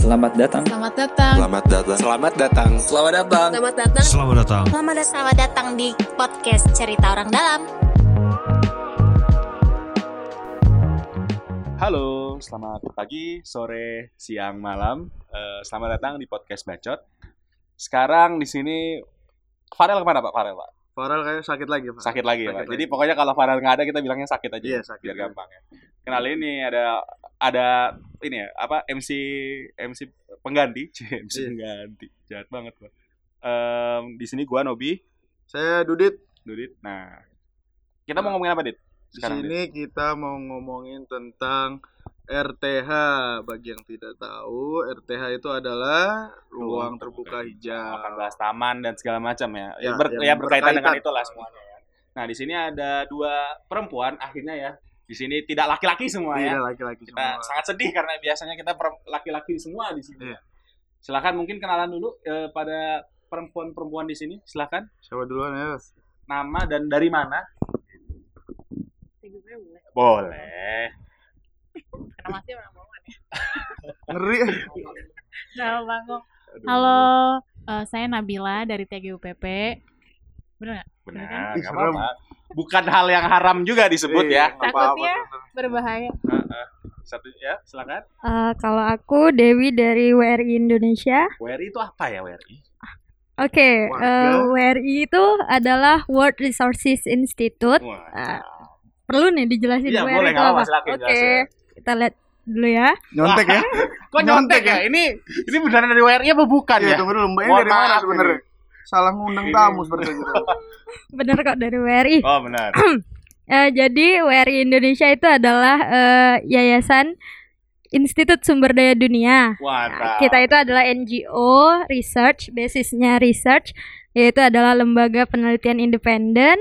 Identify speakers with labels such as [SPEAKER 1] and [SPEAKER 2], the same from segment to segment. [SPEAKER 1] Selamat datang.
[SPEAKER 2] Selamat datang.
[SPEAKER 3] Selamat datang.
[SPEAKER 4] Selamat datang.
[SPEAKER 5] Selamat datang.
[SPEAKER 6] Selamat datang.
[SPEAKER 7] Selamat datang.
[SPEAKER 8] Selamat datang. Selamat datang di podcast Cerita Orang Dalam.
[SPEAKER 4] Halo, selamat pagi, sore, siang, malam. Eh, selamat datang di podcast Bacot. Sekarang di sini Farel kemana Pak Farel Pak?
[SPEAKER 9] Farel kayak sakit lagi Pak.
[SPEAKER 4] Sakit lagi ya,
[SPEAKER 9] Sakit
[SPEAKER 4] Pak.
[SPEAKER 9] lagi.
[SPEAKER 4] Jadi pokoknya kalau Farel nggak ada kita bilangnya sakit aja.
[SPEAKER 9] Iya, sakit.
[SPEAKER 4] Biar gampang ya. Kenal ini ada ada ini ya apa MC MC pengganti, Cie, MC
[SPEAKER 9] Iya.
[SPEAKER 4] pengganti. Jahat banget Pak. Em, di sini gua Nobi,
[SPEAKER 9] Saya Dudit.
[SPEAKER 4] Dudit. Nah, kita
[SPEAKER 9] Nah.
[SPEAKER 4] mau ngomongin apa Dit?
[SPEAKER 9] Di
[SPEAKER 4] Sekarang,
[SPEAKER 9] sini kita mau ngomongin tentang RTH. Bagi yang tidak tahu, RTH itu adalah ruang terbuka
[SPEAKER 4] akan
[SPEAKER 9] hijau. Iya,
[SPEAKER 4] bahas taman dan segala macam ya. Ya,
[SPEAKER 9] Ya,
[SPEAKER 4] ber-
[SPEAKER 9] yang
[SPEAKER 4] ya berkaitan dengan
[SPEAKER 9] berkaitan.
[SPEAKER 4] itulah semuanya. ya. Nah, di sini ada dua perempuan akhirnya ya. Di sini tidak laki-laki semua ya.
[SPEAKER 9] Iya, laki-laki
[SPEAKER 4] Kita
[SPEAKER 9] semua.
[SPEAKER 4] sangat sedih karena biasanya kita per- laki-laki semua di sini.
[SPEAKER 9] Iya.
[SPEAKER 4] Silakan mungkin kenalan dulu eh, pada perempuan-perempuan di sini. Silakan
[SPEAKER 9] Siapa duluan ya?
[SPEAKER 4] nama dan dari mana?
[SPEAKER 2] Kenapa
[SPEAKER 4] Boleh.
[SPEAKER 2] sih orang bangun ya?
[SPEAKER 9] Ngeri.
[SPEAKER 2] Orang bangun. Halo, eh, saya Nabila dari TGUPP. Bener nggak?
[SPEAKER 4] Benar,
[SPEAKER 9] Ih,
[SPEAKER 4] nggak
[SPEAKER 9] serem.
[SPEAKER 4] apa-apa. Bukan hal yang haram juga disebut ya.
[SPEAKER 9] Iya, apa-apa.
[SPEAKER 2] Takutnya berbahaya.
[SPEAKER 4] Satu ya, silakan.
[SPEAKER 10] Eh, kalau aku Dewi dari WRI Indonesia.
[SPEAKER 4] WRI itu apa ya WRI?
[SPEAKER 10] Oke, eh,
[SPEAKER 9] Warga.
[SPEAKER 10] WRI itu adalah World Resources Institute.
[SPEAKER 4] Wah.
[SPEAKER 9] Ah.
[SPEAKER 10] Eh, perlu nih dijelasin
[SPEAKER 4] Iya,
[SPEAKER 10] WRI
[SPEAKER 4] boleh,
[SPEAKER 10] itu
[SPEAKER 4] nggak
[SPEAKER 10] apa?
[SPEAKER 4] apa-apa, silakan
[SPEAKER 10] Oke,
[SPEAKER 4] jelasin.
[SPEAKER 10] kita lihat dulu ya.
[SPEAKER 9] Nyontek ya?
[SPEAKER 4] Kok nyontek ya? Ini ini beneran dari WRI apa bukan
[SPEAKER 9] Iya,
[SPEAKER 4] ya?
[SPEAKER 9] tunggu dulu. Mbak ini
[SPEAKER 4] Mohon
[SPEAKER 9] dari mana
[SPEAKER 4] maaf
[SPEAKER 9] sebenarnya? Salah ngundang tamu gitu. seperti itu.
[SPEAKER 10] Bener kok dari WRI.
[SPEAKER 4] Oh benar.
[SPEAKER 10] Eh, jadi WRI Indonesia itu adalah eh, yayasan Institut Sumber Daya Dunia. Nah,
[SPEAKER 4] Wah,
[SPEAKER 10] kita itu adalah NGO research, basisnya research, yaitu adalah lembaga penelitian independen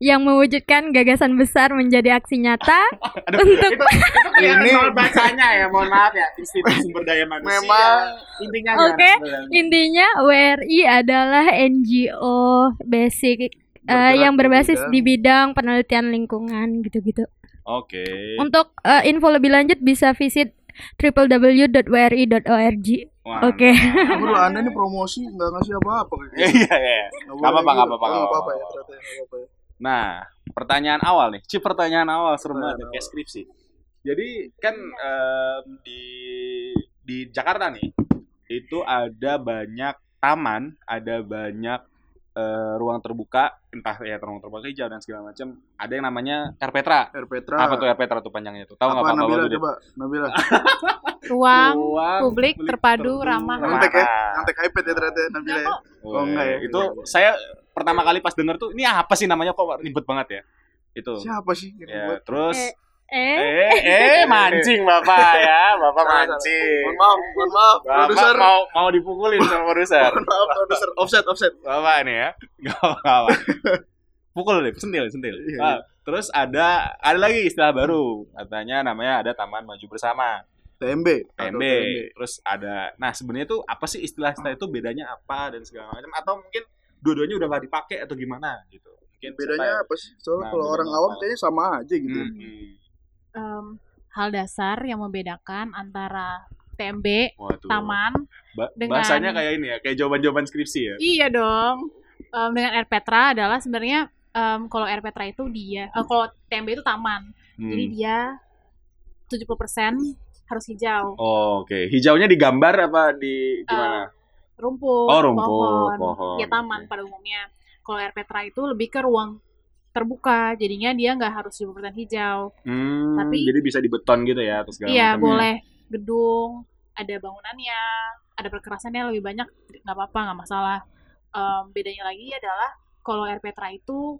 [SPEAKER 10] yang mewujudkan gagasan besar menjadi aksi nyata
[SPEAKER 4] Aduh,
[SPEAKER 10] untuk
[SPEAKER 4] ini
[SPEAKER 9] Ini-
[SPEAKER 4] nol bacanya ya, mohon maaf ya. Institut Sumber Daya Manusia.
[SPEAKER 9] Memang.
[SPEAKER 4] intinya gimana
[SPEAKER 10] Oke.
[SPEAKER 4] sebenarnya?
[SPEAKER 10] intinya WRI adalah NGO basic eh,
[SPEAKER 9] Bergerak
[SPEAKER 10] yang
[SPEAKER 9] di
[SPEAKER 10] berbasis
[SPEAKER 9] bidang-
[SPEAKER 10] di bidang penelitian lingkungan gitu-gitu.
[SPEAKER 4] Oke.
[SPEAKER 10] Untuk eh, info lebih lanjut bisa visit www.wri.org.
[SPEAKER 4] Wah,
[SPEAKER 10] Oke.
[SPEAKER 9] Tunggu dulu, Anda ini promosi nggak ngasih apa-apa.
[SPEAKER 4] Iya, iya, iya. Nggak apa-apa, nggak apa-apa, nggak
[SPEAKER 9] Enggak apa-apa ya,
[SPEAKER 4] apa-apa.
[SPEAKER 9] ternyata ya, nggak apa-apa. ya.
[SPEAKER 4] Nah, pertanyaan awal nih. Ci pertanyaan awal serem
[SPEAKER 9] Pertanyaan
[SPEAKER 4] banget kayak skripsi. Jadi kan em, di di Jakarta nih itu ada banyak taman, ada banyak eh, ruang terbuka, entah ya ruang terbuka hijau dan segala macam. Ada yang namanya Karpetra.
[SPEAKER 9] Erpetra.
[SPEAKER 4] Apa tuh Erpetra tuh panjangnya tuh? Tahu
[SPEAKER 9] Ah. Apa
[SPEAKER 4] nggak Pak kalau
[SPEAKER 9] Nabila
[SPEAKER 4] Dudit?
[SPEAKER 9] coba? Nabila.
[SPEAKER 2] Ruang
[SPEAKER 4] Ruang
[SPEAKER 2] publik terpadu ramah.
[SPEAKER 9] Nyontek ya? Nyontek iPad ya ternyata ya, Nabila
[SPEAKER 2] Nggak
[SPEAKER 9] ya.
[SPEAKER 2] kok.
[SPEAKER 4] Oh,
[SPEAKER 9] Oh, enggak ya? Iya.
[SPEAKER 4] Itu saya pertama kali pas denger tuh ini apa sih namanya kok ribet banget ya? Itu.
[SPEAKER 9] Siapa sih? yang
[SPEAKER 4] Ya,
[SPEAKER 9] buat?
[SPEAKER 4] terus
[SPEAKER 10] Eh,
[SPEAKER 4] eh eh mancing Bapak ya, Bapak mancing.
[SPEAKER 9] Mohon maaf, mohon maaf.
[SPEAKER 4] Bapak
[SPEAKER 9] Produser.
[SPEAKER 4] mau mau dipukulin sama produser.
[SPEAKER 9] Mohon maaf, produser. Offset, offset.
[SPEAKER 4] Bapak ini ya. Enggak apa-apa. Pukul deh, sentil, sentil.
[SPEAKER 9] Iya,
[SPEAKER 4] Ah, terus ada ada lagi istilah baru. Katanya namanya ada Taman Maju Bersama,
[SPEAKER 9] TMB.
[SPEAKER 4] TMB. Terus ada nah sebenarnya tuh apa sih istilah-istilah itu bedanya apa dan segala macam atau mungkin dua-duanya udah nggak dipakai atau gimana gitu. Mungkin
[SPEAKER 9] Bedanya apa sih?
[SPEAKER 4] Nah,
[SPEAKER 9] Soalnya kalau
[SPEAKER 4] bedanya
[SPEAKER 9] orang awam
[SPEAKER 4] apa?
[SPEAKER 9] kayaknya sama aja gitu.
[SPEAKER 4] Hmm.
[SPEAKER 2] Em, hal dasar yang membedakan antara TMB,
[SPEAKER 4] Waduh.
[SPEAKER 2] taman.
[SPEAKER 4] Ba-
[SPEAKER 2] dengan-
[SPEAKER 4] Bahasanya kayak ini ya, kayak jawaban-jawaban skripsi ya.
[SPEAKER 2] Iya dong. Em, dengan Air Petra adalah sebenarnya em, kalau Air Petra itu dia, eh, kalau TMB itu taman. Jadi
[SPEAKER 4] Hmm.
[SPEAKER 2] dia 70% harus hijau.
[SPEAKER 4] Oh, Oke, hijaunya digambar apa
[SPEAKER 2] Eh,
[SPEAKER 4] di gimana?
[SPEAKER 2] rumput,
[SPEAKER 4] Oh, rumput,
[SPEAKER 2] pohon,
[SPEAKER 4] pohon.
[SPEAKER 2] ya taman pada umumnya. Kalau air petra itu lebih ke ruang terbuka, jadinya dia nggak harus di perbukitan hijau.
[SPEAKER 4] Hmm,
[SPEAKER 2] tapi-
[SPEAKER 4] jadi bisa dibeton gitu ya atau segala
[SPEAKER 2] Iya,
[SPEAKER 4] macam ya.
[SPEAKER 2] boleh gedung, ada bangunannya, ada perkerasannya lebih banyak, nggak apa-apa, nggak masalah. Em, bedanya lagi adalah kalau air petra itu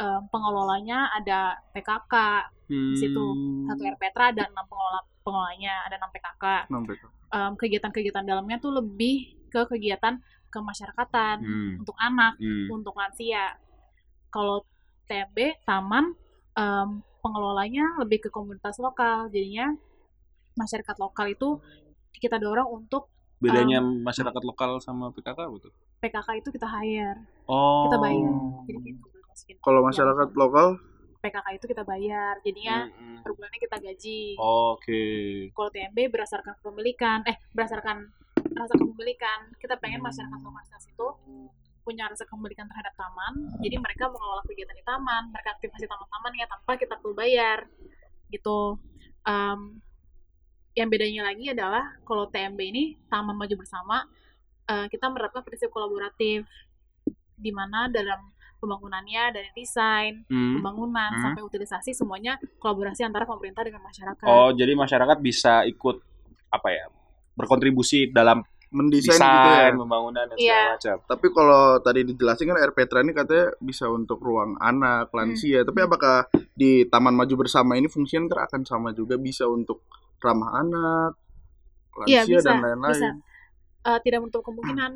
[SPEAKER 2] em, pengelolanya ada PKK
[SPEAKER 4] Hmm.
[SPEAKER 2] di situ. Satu air petra ada enam pengelola pengelolanya, ada enam PKK.
[SPEAKER 9] Nah,
[SPEAKER 2] Em, kegiatan-kegiatan dalamnya tuh lebih ke kegiatan kemasyarakatan
[SPEAKER 4] Hmm,
[SPEAKER 2] untuk anak.
[SPEAKER 4] hmm.
[SPEAKER 2] untuk lansia. Kalau TMB taman em, pengelolanya lebih ke komunitas lokal, jadinya masyarakat lokal itu kita dorong untuk eh,
[SPEAKER 4] Bedanya masyarakat lokal sama PKK apa tuh?
[SPEAKER 2] PKK itu kita hire,
[SPEAKER 4] Oh.
[SPEAKER 2] kita bayar. Jadi kayak komunitas gitu.
[SPEAKER 9] Kalau masyarakat lokal
[SPEAKER 2] PKK itu kita bayar jadinya
[SPEAKER 4] Mm-mm.
[SPEAKER 2] per bulannya kita gaji
[SPEAKER 4] Hmm, Oke.
[SPEAKER 2] kalau TMB berdasarkan kepemilikan eh berdasarkan rasa kepemilikan kita pengen
[SPEAKER 4] Hmm.
[SPEAKER 2] masyarakat lokalitas itu punya rasa kepemilikan terhadap taman
[SPEAKER 4] Hmm.
[SPEAKER 2] jadi mereka mengelola kegiatan di taman mereka aktivasi taman-taman ya tanpa kita perlu bayar gitu Em, yang bedanya lagi adalah kalau TMB ini taman maju bersama eh, kita menerapkan prinsip kolaboratif di mana dalam pembangunannya dari desain
[SPEAKER 4] Hmm.
[SPEAKER 2] pembangunan
[SPEAKER 4] Hmm.
[SPEAKER 2] sampai utilisasi semuanya kolaborasi antara pemerintah dengan masyarakat
[SPEAKER 4] Oh, jadi masyarakat bisa ikut apa ya? Berkontribusi dalam
[SPEAKER 9] mendesain
[SPEAKER 4] desain,
[SPEAKER 9] gitu ya.
[SPEAKER 4] pembangunan dan
[SPEAKER 2] Iya.
[SPEAKER 4] segala macam.
[SPEAKER 9] Tapi kalau tadi dijelasin kan air Petra ini katanya bisa untuk ruang
[SPEAKER 4] Hmm.
[SPEAKER 9] anak, lansia. Tapi apakah di Taman Maju Bersama ini fungsinya ntar akan sama juga bisa untuk ramah anak,
[SPEAKER 2] Iya,
[SPEAKER 9] lansia
[SPEAKER 2] bisa,
[SPEAKER 9] dan
[SPEAKER 2] bisa.
[SPEAKER 9] lain-lain?
[SPEAKER 2] Eh, tidak menutup kemungkinan.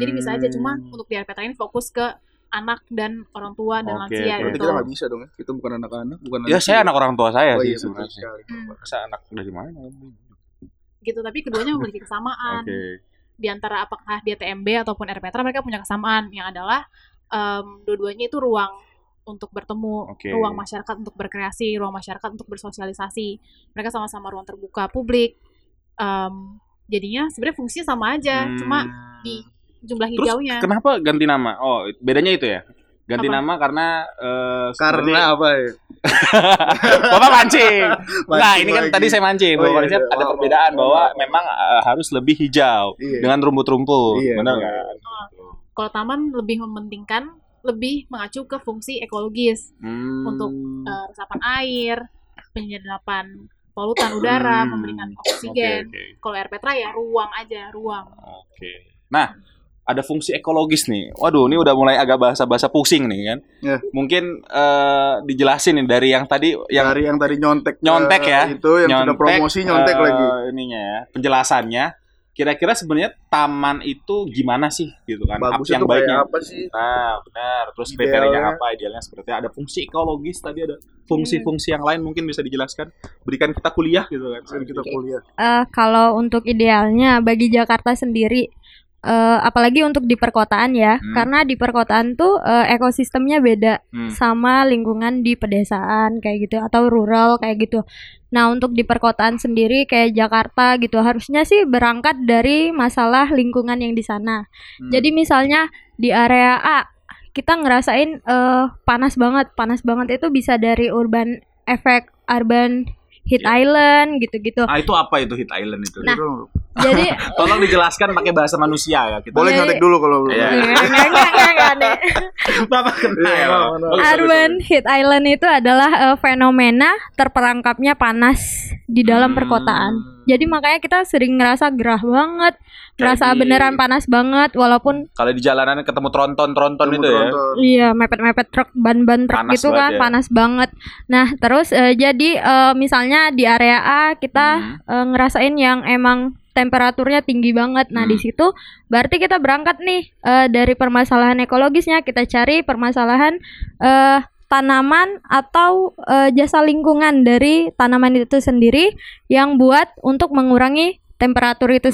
[SPEAKER 2] Jadi bisa aja cuma
[SPEAKER 4] Hmm.
[SPEAKER 2] untuk di RPTA ini fokus ke anak dan orang tua dan
[SPEAKER 4] Oke,
[SPEAKER 2] lansia
[SPEAKER 4] oke.
[SPEAKER 9] Berarti
[SPEAKER 2] gitu.
[SPEAKER 9] kita nggak bisa dong ya? Kita bukan anak-anak, bukan
[SPEAKER 4] Ya
[SPEAKER 9] lansia.
[SPEAKER 4] Iya. saya anak orang tua saya
[SPEAKER 9] Oh
[SPEAKER 4] sih
[SPEAKER 9] iya, betul
[SPEAKER 4] sebenarnya.
[SPEAKER 9] sekali.
[SPEAKER 2] Hmm,
[SPEAKER 4] Masa anak dari mana? Oke.
[SPEAKER 2] gitu tapi keduanya memiliki kesamaan di antara apakah dia TMB ataupun RPTA mereka punya kesamaan yang adalah em, dua-duanya itu ruang untuk bertemu,
[SPEAKER 4] Oke.
[SPEAKER 2] ruang masyarakat untuk berkreasi, ruang masyarakat untuk bersosialisasi. Mereka sama-sama ruang terbuka publik. Em, jadinya sebenarnya fungsinya sama aja,
[SPEAKER 4] Hmm.
[SPEAKER 2] cuma di jumlah
[SPEAKER 4] Terus
[SPEAKER 2] hijaunya.
[SPEAKER 4] kenapa ganti nama? Oh, bedanya itu ya. Ganti
[SPEAKER 2] Apa?
[SPEAKER 4] nama karena eh,
[SPEAKER 9] Karena
[SPEAKER 4] sebenarnya-
[SPEAKER 9] apa ya?
[SPEAKER 4] Bapak mancing. Nah,
[SPEAKER 9] Mancing
[SPEAKER 4] ini kan
[SPEAKER 9] lagi.
[SPEAKER 4] tadi saya mancing
[SPEAKER 9] Oh,
[SPEAKER 4] bahwa
[SPEAKER 9] iya,
[SPEAKER 4] konsep
[SPEAKER 9] iya.
[SPEAKER 4] ada
[SPEAKER 9] Maaf,
[SPEAKER 4] perbedaan
[SPEAKER 9] maaf,
[SPEAKER 4] bahwa
[SPEAKER 9] maaf.
[SPEAKER 4] memang eh, harus lebih hijau
[SPEAKER 9] Iya.
[SPEAKER 4] dengan rumput-rumput.
[SPEAKER 9] Iya,
[SPEAKER 4] Benar
[SPEAKER 9] iya.
[SPEAKER 4] nggak?
[SPEAKER 2] kalau taman lebih mementingkan lebih mengacu ke fungsi ekologis
[SPEAKER 4] Hmm.
[SPEAKER 2] Untuk, eh, resapan air, penyerapan polutan udara,
[SPEAKER 4] Hmm.
[SPEAKER 2] memberikan
[SPEAKER 4] Oke,
[SPEAKER 2] oksigen.
[SPEAKER 4] oke.
[SPEAKER 2] Kalau air petra ya ruang aja, ruang.
[SPEAKER 4] Oke. Nah, ada fungsi ekologis nih. Waduh, ini udah mulai agak bahasa-bahasa pusing nih kan.
[SPEAKER 9] Iya.
[SPEAKER 4] Mungkin eh, dijelasin nih dari yang tadi
[SPEAKER 9] Yang
[SPEAKER 4] yang
[SPEAKER 9] hari yang tadi nyontek ke
[SPEAKER 4] Nyontek ya?
[SPEAKER 9] Itu yang sudah promosi nyontek
[SPEAKER 4] eh,
[SPEAKER 9] lagi.
[SPEAKER 4] Ininya ya, penjelasannya. Kira-kira sebenarnya taman itu gimana sih gitu kan? Apa
[SPEAKER 9] Bagusnya
[SPEAKER 4] yang
[SPEAKER 9] tuh kayak
[SPEAKER 4] baiknya?
[SPEAKER 9] apa sih?
[SPEAKER 4] Nah, benar. Terus
[SPEAKER 9] Idealnya.
[SPEAKER 4] kriterianya apa? Idealnya seperti apa? ada fungsi ekologis tadi ada fungsi-fungsi yang lain mungkin bisa dijelaskan. Berikan kita kuliah gitu kan.
[SPEAKER 9] Kan kita kuliah.
[SPEAKER 10] Eh, kalau untuk idealnya bagi Jakarta sendiri eh, apalagi untuk di perkotaan ya
[SPEAKER 4] Hmm.
[SPEAKER 10] karena di perkotaan tuh eh, ekosistemnya beda
[SPEAKER 4] Hmm.
[SPEAKER 10] sama lingkungan di pedesaan kayak gitu atau rural kayak gitu nah untuk di perkotaan sendiri kayak Jakarta gitu harusnya sih berangkat dari masalah lingkungan yang di sana
[SPEAKER 4] Hmm.
[SPEAKER 10] jadi misalnya di area A kita ngerasain eh, panas banget panas banget itu bisa dari urban efek urban heat
[SPEAKER 4] Iya.
[SPEAKER 10] island gitu-gitu
[SPEAKER 4] Ah, itu apa itu Hit Island itu?
[SPEAKER 10] Nah.
[SPEAKER 9] Gitu dong.
[SPEAKER 10] jadi
[SPEAKER 4] Tolong dijelaskan pakai bahasa manusia ya kita.
[SPEAKER 9] Boleh nyontek
[SPEAKER 10] Jadi-
[SPEAKER 9] dulu kalau belum.
[SPEAKER 4] Iya.
[SPEAKER 10] Nggak, nggak, nggak, nggak, nggak, nih.
[SPEAKER 4] Bapak kena
[SPEAKER 9] Iya,
[SPEAKER 4] ya.
[SPEAKER 9] Pak.
[SPEAKER 4] Bagus, bagus,
[SPEAKER 10] Urban
[SPEAKER 4] bagus.
[SPEAKER 10] heat island itu adalah eh, fenomena terperangkapnya panas di dalam
[SPEAKER 4] Hmm.
[SPEAKER 10] perkotaan. Jadi makanya kita sering ngerasa gerah banget, ngerasa
[SPEAKER 4] di-
[SPEAKER 10] beneran panas banget walaupun
[SPEAKER 4] Kalau di jalanan ketemu tronton-tronton
[SPEAKER 9] Ketemu
[SPEAKER 4] itu ya.
[SPEAKER 9] tronton.
[SPEAKER 10] iya mepet-mepet truk, ban-ban truk
[SPEAKER 4] Panas
[SPEAKER 10] gitu
[SPEAKER 4] banget
[SPEAKER 10] kan
[SPEAKER 4] ya.
[SPEAKER 10] panas banget. Nah, terus eh, jadi eh, misalnya di area A kita
[SPEAKER 4] Hmm.
[SPEAKER 10] eh, ngerasain yang emang temperaturnya tinggi banget. Nah, di
[SPEAKER 4] Hmm.
[SPEAKER 10] situ berarti kita berangkat nih eh, dari permasalahan ekologisnya, kita cari permasalahan eh, tanaman atau eh, jasa lingkungan dari tanaman itu sendiri yang buat untuk mengurangi temperatur itu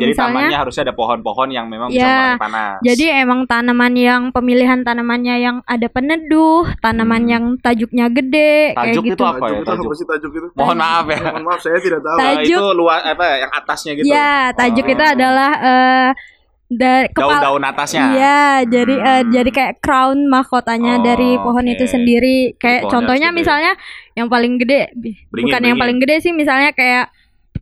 [SPEAKER 4] Hmm, Jadi
[SPEAKER 10] misalnya
[SPEAKER 4] tamannya harusnya ada pohon-pohon yang memang
[SPEAKER 10] Iya.
[SPEAKER 4] bisa menahan panas.
[SPEAKER 10] jadi emang tanaman yang pemilihan tanamannya yang ada peneduh, tanaman
[SPEAKER 4] Hmm.
[SPEAKER 10] yang tajuknya gede kayak
[SPEAKER 4] Tajuk itu
[SPEAKER 10] gitu.
[SPEAKER 4] apa? ya,
[SPEAKER 9] Tajuk itu
[SPEAKER 4] tajuk?
[SPEAKER 9] apa sih tajuk itu?
[SPEAKER 4] mohon maaf ya.
[SPEAKER 9] Mohon maaf saya tidak tahu.
[SPEAKER 10] Tajuk.
[SPEAKER 4] Eh, itu luar apa ya, yang atasnya gitu.
[SPEAKER 10] Ya, tajuk itu
[SPEAKER 4] Oh.
[SPEAKER 10] adalah eh dari kepala
[SPEAKER 4] Daun-daun atasnya.
[SPEAKER 10] Iya, jadi eh,
[SPEAKER 4] Hmm.
[SPEAKER 10] jadi kayak crown mahkotanya
[SPEAKER 4] Oh,
[SPEAKER 10] dari pohon itu
[SPEAKER 4] oke.
[SPEAKER 10] sendiri.
[SPEAKER 4] pohonnya
[SPEAKER 10] Kayak contohnya
[SPEAKER 4] harus gede.
[SPEAKER 10] misalnya yang paling gede, bi-
[SPEAKER 4] Beringin,
[SPEAKER 10] bukan yang
[SPEAKER 4] beringin.
[SPEAKER 10] paling gede sih, misalnya kayak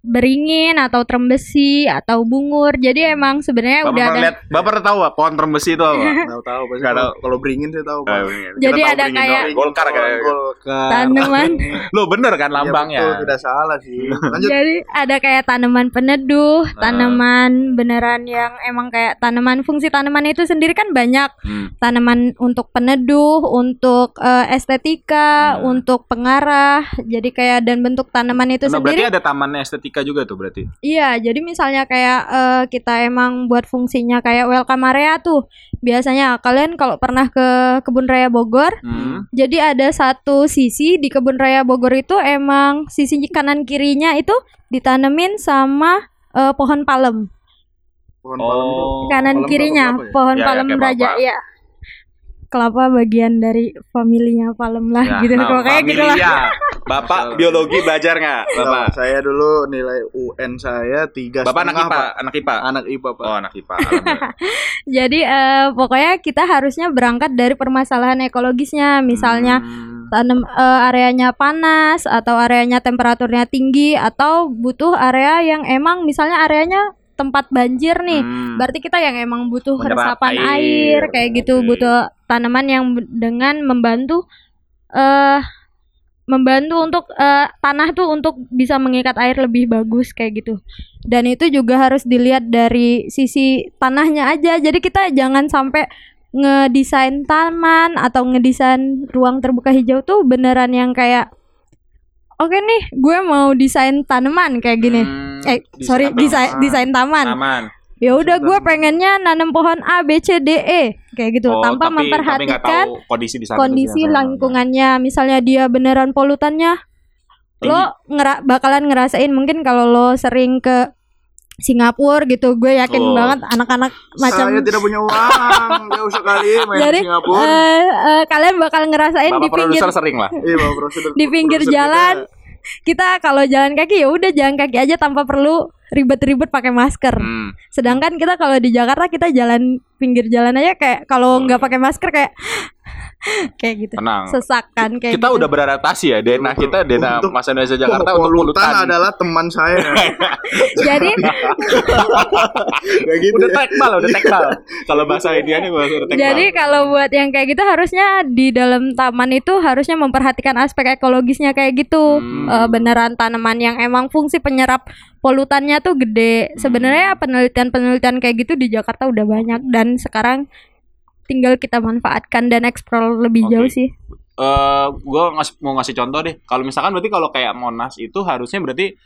[SPEAKER 10] beringin atau trembesi atau bungur. Jadi emang sebenarnya
[SPEAKER 4] Bapak
[SPEAKER 10] udah
[SPEAKER 4] pernah
[SPEAKER 10] ada. Iya.
[SPEAKER 4] lihat, Bapak pernah tahu apa pohon termbesi itu apa? Nah,
[SPEAKER 9] Tahu tahu pasti.
[SPEAKER 4] Nggak
[SPEAKER 9] Kalau- Kalau beringin saya tahu. Pak.
[SPEAKER 10] Jadi ada
[SPEAKER 9] Beringin,
[SPEAKER 10] kayak-
[SPEAKER 4] Eh, Golkar kayak.
[SPEAKER 9] Golkar.
[SPEAKER 10] Tanaman.
[SPEAKER 4] Lo bener kan
[SPEAKER 9] Iya,
[SPEAKER 4] lambangnya.
[SPEAKER 9] betul, tidak salah sih. Lanjut.
[SPEAKER 10] Jadi ada kayak tanaman peneduh,
[SPEAKER 4] Ah.
[SPEAKER 10] tanaman beneran yang emang kayak tanaman fungsi tanaman itu sendiri kan banyak
[SPEAKER 4] Hmm.
[SPEAKER 10] tanaman untuk peneduh, untuk eh, estetika,
[SPEAKER 4] Hmm.
[SPEAKER 10] untuk pengarah. Jadi kayak dan bentuk tanaman itu
[SPEAKER 4] Nah,
[SPEAKER 10] sendiri
[SPEAKER 4] berarti ada tamannya estetika juga tuh berarti.
[SPEAKER 10] Iya, jadi misalnya kayak eh, kita emang buat fungsinya kayak welcome area tuh. Biasanya kalian kalau pernah ke kebun raya Bogor,
[SPEAKER 4] Hmm.
[SPEAKER 10] jadi ada satu sisi di kebun raya Bogor itu emang sisi kanan kirinya itu ditanemin sama eh, pohon palem.
[SPEAKER 9] Pohon palem itu.
[SPEAKER 4] Oh.
[SPEAKER 10] kanan
[SPEAKER 9] palem
[SPEAKER 10] kirinya
[SPEAKER 9] apa ya?
[SPEAKER 10] pohon
[SPEAKER 4] Ya, ya,
[SPEAKER 10] palem
[SPEAKER 4] kayak
[SPEAKER 10] raja
[SPEAKER 4] bapak.
[SPEAKER 10] ya. kelapa bagian dari familinya palem lah
[SPEAKER 4] Ya,
[SPEAKER 10] gitu
[SPEAKER 4] nah,
[SPEAKER 10] pokoknya gitu lah
[SPEAKER 11] Familia. Bapak biologi belajar nggak, Bapak?
[SPEAKER 9] Kalau saya dulu nilai UN saya tiga
[SPEAKER 4] Bapak anak
[SPEAKER 9] setengah,
[SPEAKER 4] IPA,
[SPEAKER 9] Pak.
[SPEAKER 4] anak IPA.
[SPEAKER 9] Anak IPA Pak.
[SPEAKER 4] Oh, anak IPA. alhamdulillah.
[SPEAKER 10] jadi eh, pokoknya kita harusnya berangkat dari permasalahan ekologisnya misalnya
[SPEAKER 4] Hmm.
[SPEAKER 10] tanam eh, areanya panas atau areanya temperaturnya tinggi atau butuh area yang emang misalnya areanya tempat banjir nih.
[SPEAKER 4] Hmm.
[SPEAKER 10] Berarti kita yang emang butuh
[SPEAKER 4] Menyerap
[SPEAKER 10] resapan
[SPEAKER 4] air.
[SPEAKER 10] air, kayak gitu
[SPEAKER 4] Oke.
[SPEAKER 10] butuh tanaman yang b- dengan membantu eh membantu untuk eh, tanah tuh untuk bisa mengikat air lebih bagus kayak gitu. Dan itu juga harus dilihat dari sisi tanahnya aja. Jadi kita jangan sampai ngedesain taman atau ngedesain ruang terbuka hijau tuh beneran yang kayak oke nih gue mau desain tanaman kayak gini
[SPEAKER 4] Hmm,
[SPEAKER 10] eh sorry desain
[SPEAKER 9] taman.
[SPEAKER 10] desain taman
[SPEAKER 4] aman.
[SPEAKER 10] ya udah
[SPEAKER 9] desain
[SPEAKER 10] gue
[SPEAKER 9] taman.
[SPEAKER 10] pengennya nanam pohon A B C D E kayak gitu
[SPEAKER 4] Oh,
[SPEAKER 10] tanpa
[SPEAKER 4] tapi- tapi nggak
[SPEAKER 10] memperhatikan
[SPEAKER 4] tahu kondisi di sana
[SPEAKER 10] kondisi
[SPEAKER 4] Di sana.
[SPEAKER 10] lingkungannya misalnya dia beneran polutannya
[SPEAKER 4] Iya.
[SPEAKER 10] lo ngera- bakalan ngerasain mungkin kalau lo sering ke Singapura gitu gue yakin
[SPEAKER 4] Oh.
[SPEAKER 10] banget anak-anak macam
[SPEAKER 9] Saya tidak punya uang. Jauh sekali main
[SPEAKER 10] Jadi,
[SPEAKER 9] di Singapura.
[SPEAKER 10] eh, eh, kalian bakal ngerasain
[SPEAKER 4] Bapak
[SPEAKER 10] di pinggir
[SPEAKER 4] produser sering lah.
[SPEAKER 9] Iya, Pak Prosedur-
[SPEAKER 10] di pinggir
[SPEAKER 9] produser kita-
[SPEAKER 10] jalan. kita kalau jalan kaki ya udah jalan kaki aja tanpa perlu ribet-ribet pakai masker.
[SPEAKER 4] Hmm.
[SPEAKER 10] Sedangkan kita kalau di Jakarta kita jalan pinggir jalan aja kayak kalau
[SPEAKER 4] Boleh.
[SPEAKER 10] nggak pakai masker kayak kayak gitu.
[SPEAKER 4] Hmm. Tenang.
[SPEAKER 10] Sesak kan kayak
[SPEAKER 4] kita
[SPEAKER 10] gitu.
[SPEAKER 4] udah beradaptasi ya DNA kita DNA
[SPEAKER 9] Untuk-
[SPEAKER 4] masa Indonesia Jakarta
[SPEAKER 9] Pol-
[SPEAKER 4] untuk polutan
[SPEAKER 9] adalah teman saya.
[SPEAKER 10] Jadi
[SPEAKER 9] Kayak gitu.
[SPEAKER 4] udah tekbal udah tekbal kalau bahasa India nih bahasa udah tekbal
[SPEAKER 10] jadi kalau buat yang kayak gitu harusnya di dalam taman itu harusnya memperhatikan aspek ekologisnya kayak gitu.
[SPEAKER 4] Hmm.
[SPEAKER 10] Eh, beneran tanaman yang emang fungsi penyerap polutannya tuh
[SPEAKER 4] Hmm.
[SPEAKER 10] gede. Sebenarnya penelitian-penelitian kayak gitu di Jakarta udah banyak dan sekarang tinggal kita manfaatkan dan eksplor lebih
[SPEAKER 4] Oke.
[SPEAKER 10] jauh sih.
[SPEAKER 4] eh gue mau ngasih contoh deh kalau misalkan berarti kalau kayak Monas itu harusnya berarti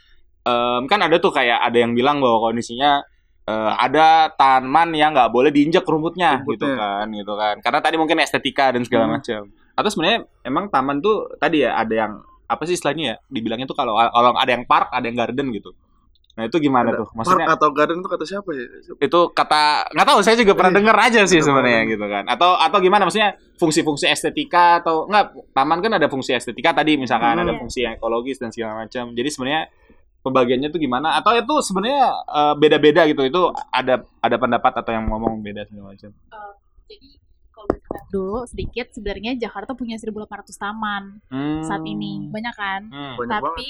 [SPEAKER 4] em, kan ada tuh kayak ada yang bilang bahwa kondisinya eh, ada tanaman yang nggak boleh diinjak rumputnya,
[SPEAKER 9] Rumputnya.
[SPEAKER 4] gitu kan gitu kan karena tadi mungkin estetika dan segala
[SPEAKER 9] Hmm.
[SPEAKER 4] macam atau sebenarnya emang taman tuh tadi ya ada yang apa sih istilahnya ya dibilangnya tuh kalau kalau ada yang park ada yang garden gitu nah itu gimana
[SPEAKER 9] Ada
[SPEAKER 4] tuh
[SPEAKER 9] Park
[SPEAKER 4] maksudnya
[SPEAKER 9] atau garden itu kata siapa ya?
[SPEAKER 4] itu kata nggak tahu saya juga pernah
[SPEAKER 9] Iya.
[SPEAKER 4] dengar aja sih
[SPEAKER 9] Iya,
[SPEAKER 4] sebenarnya
[SPEAKER 9] pernah.
[SPEAKER 4] gitu kan atau atau gimana maksudnya fungsi-fungsi estetika atau nggak taman kan ada fungsi estetika tadi misalkan ada
[SPEAKER 10] Iya.
[SPEAKER 4] fungsi ekologis dan segala macam jadi sebenarnya pembagiannya tuh gimana atau itu sebenarnya eh, beda-beda gitu itu ada ada pendapat atau yang ngomong beda segala macam
[SPEAKER 2] Jadi kalau kita dulu sedikit sebenarnya Jakarta punya 1.800 taman
[SPEAKER 4] Hmm.
[SPEAKER 2] saat ini banyak kan.
[SPEAKER 4] Hmm.
[SPEAKER 9] Banyak banget.
[SPEAKER 2] Tapi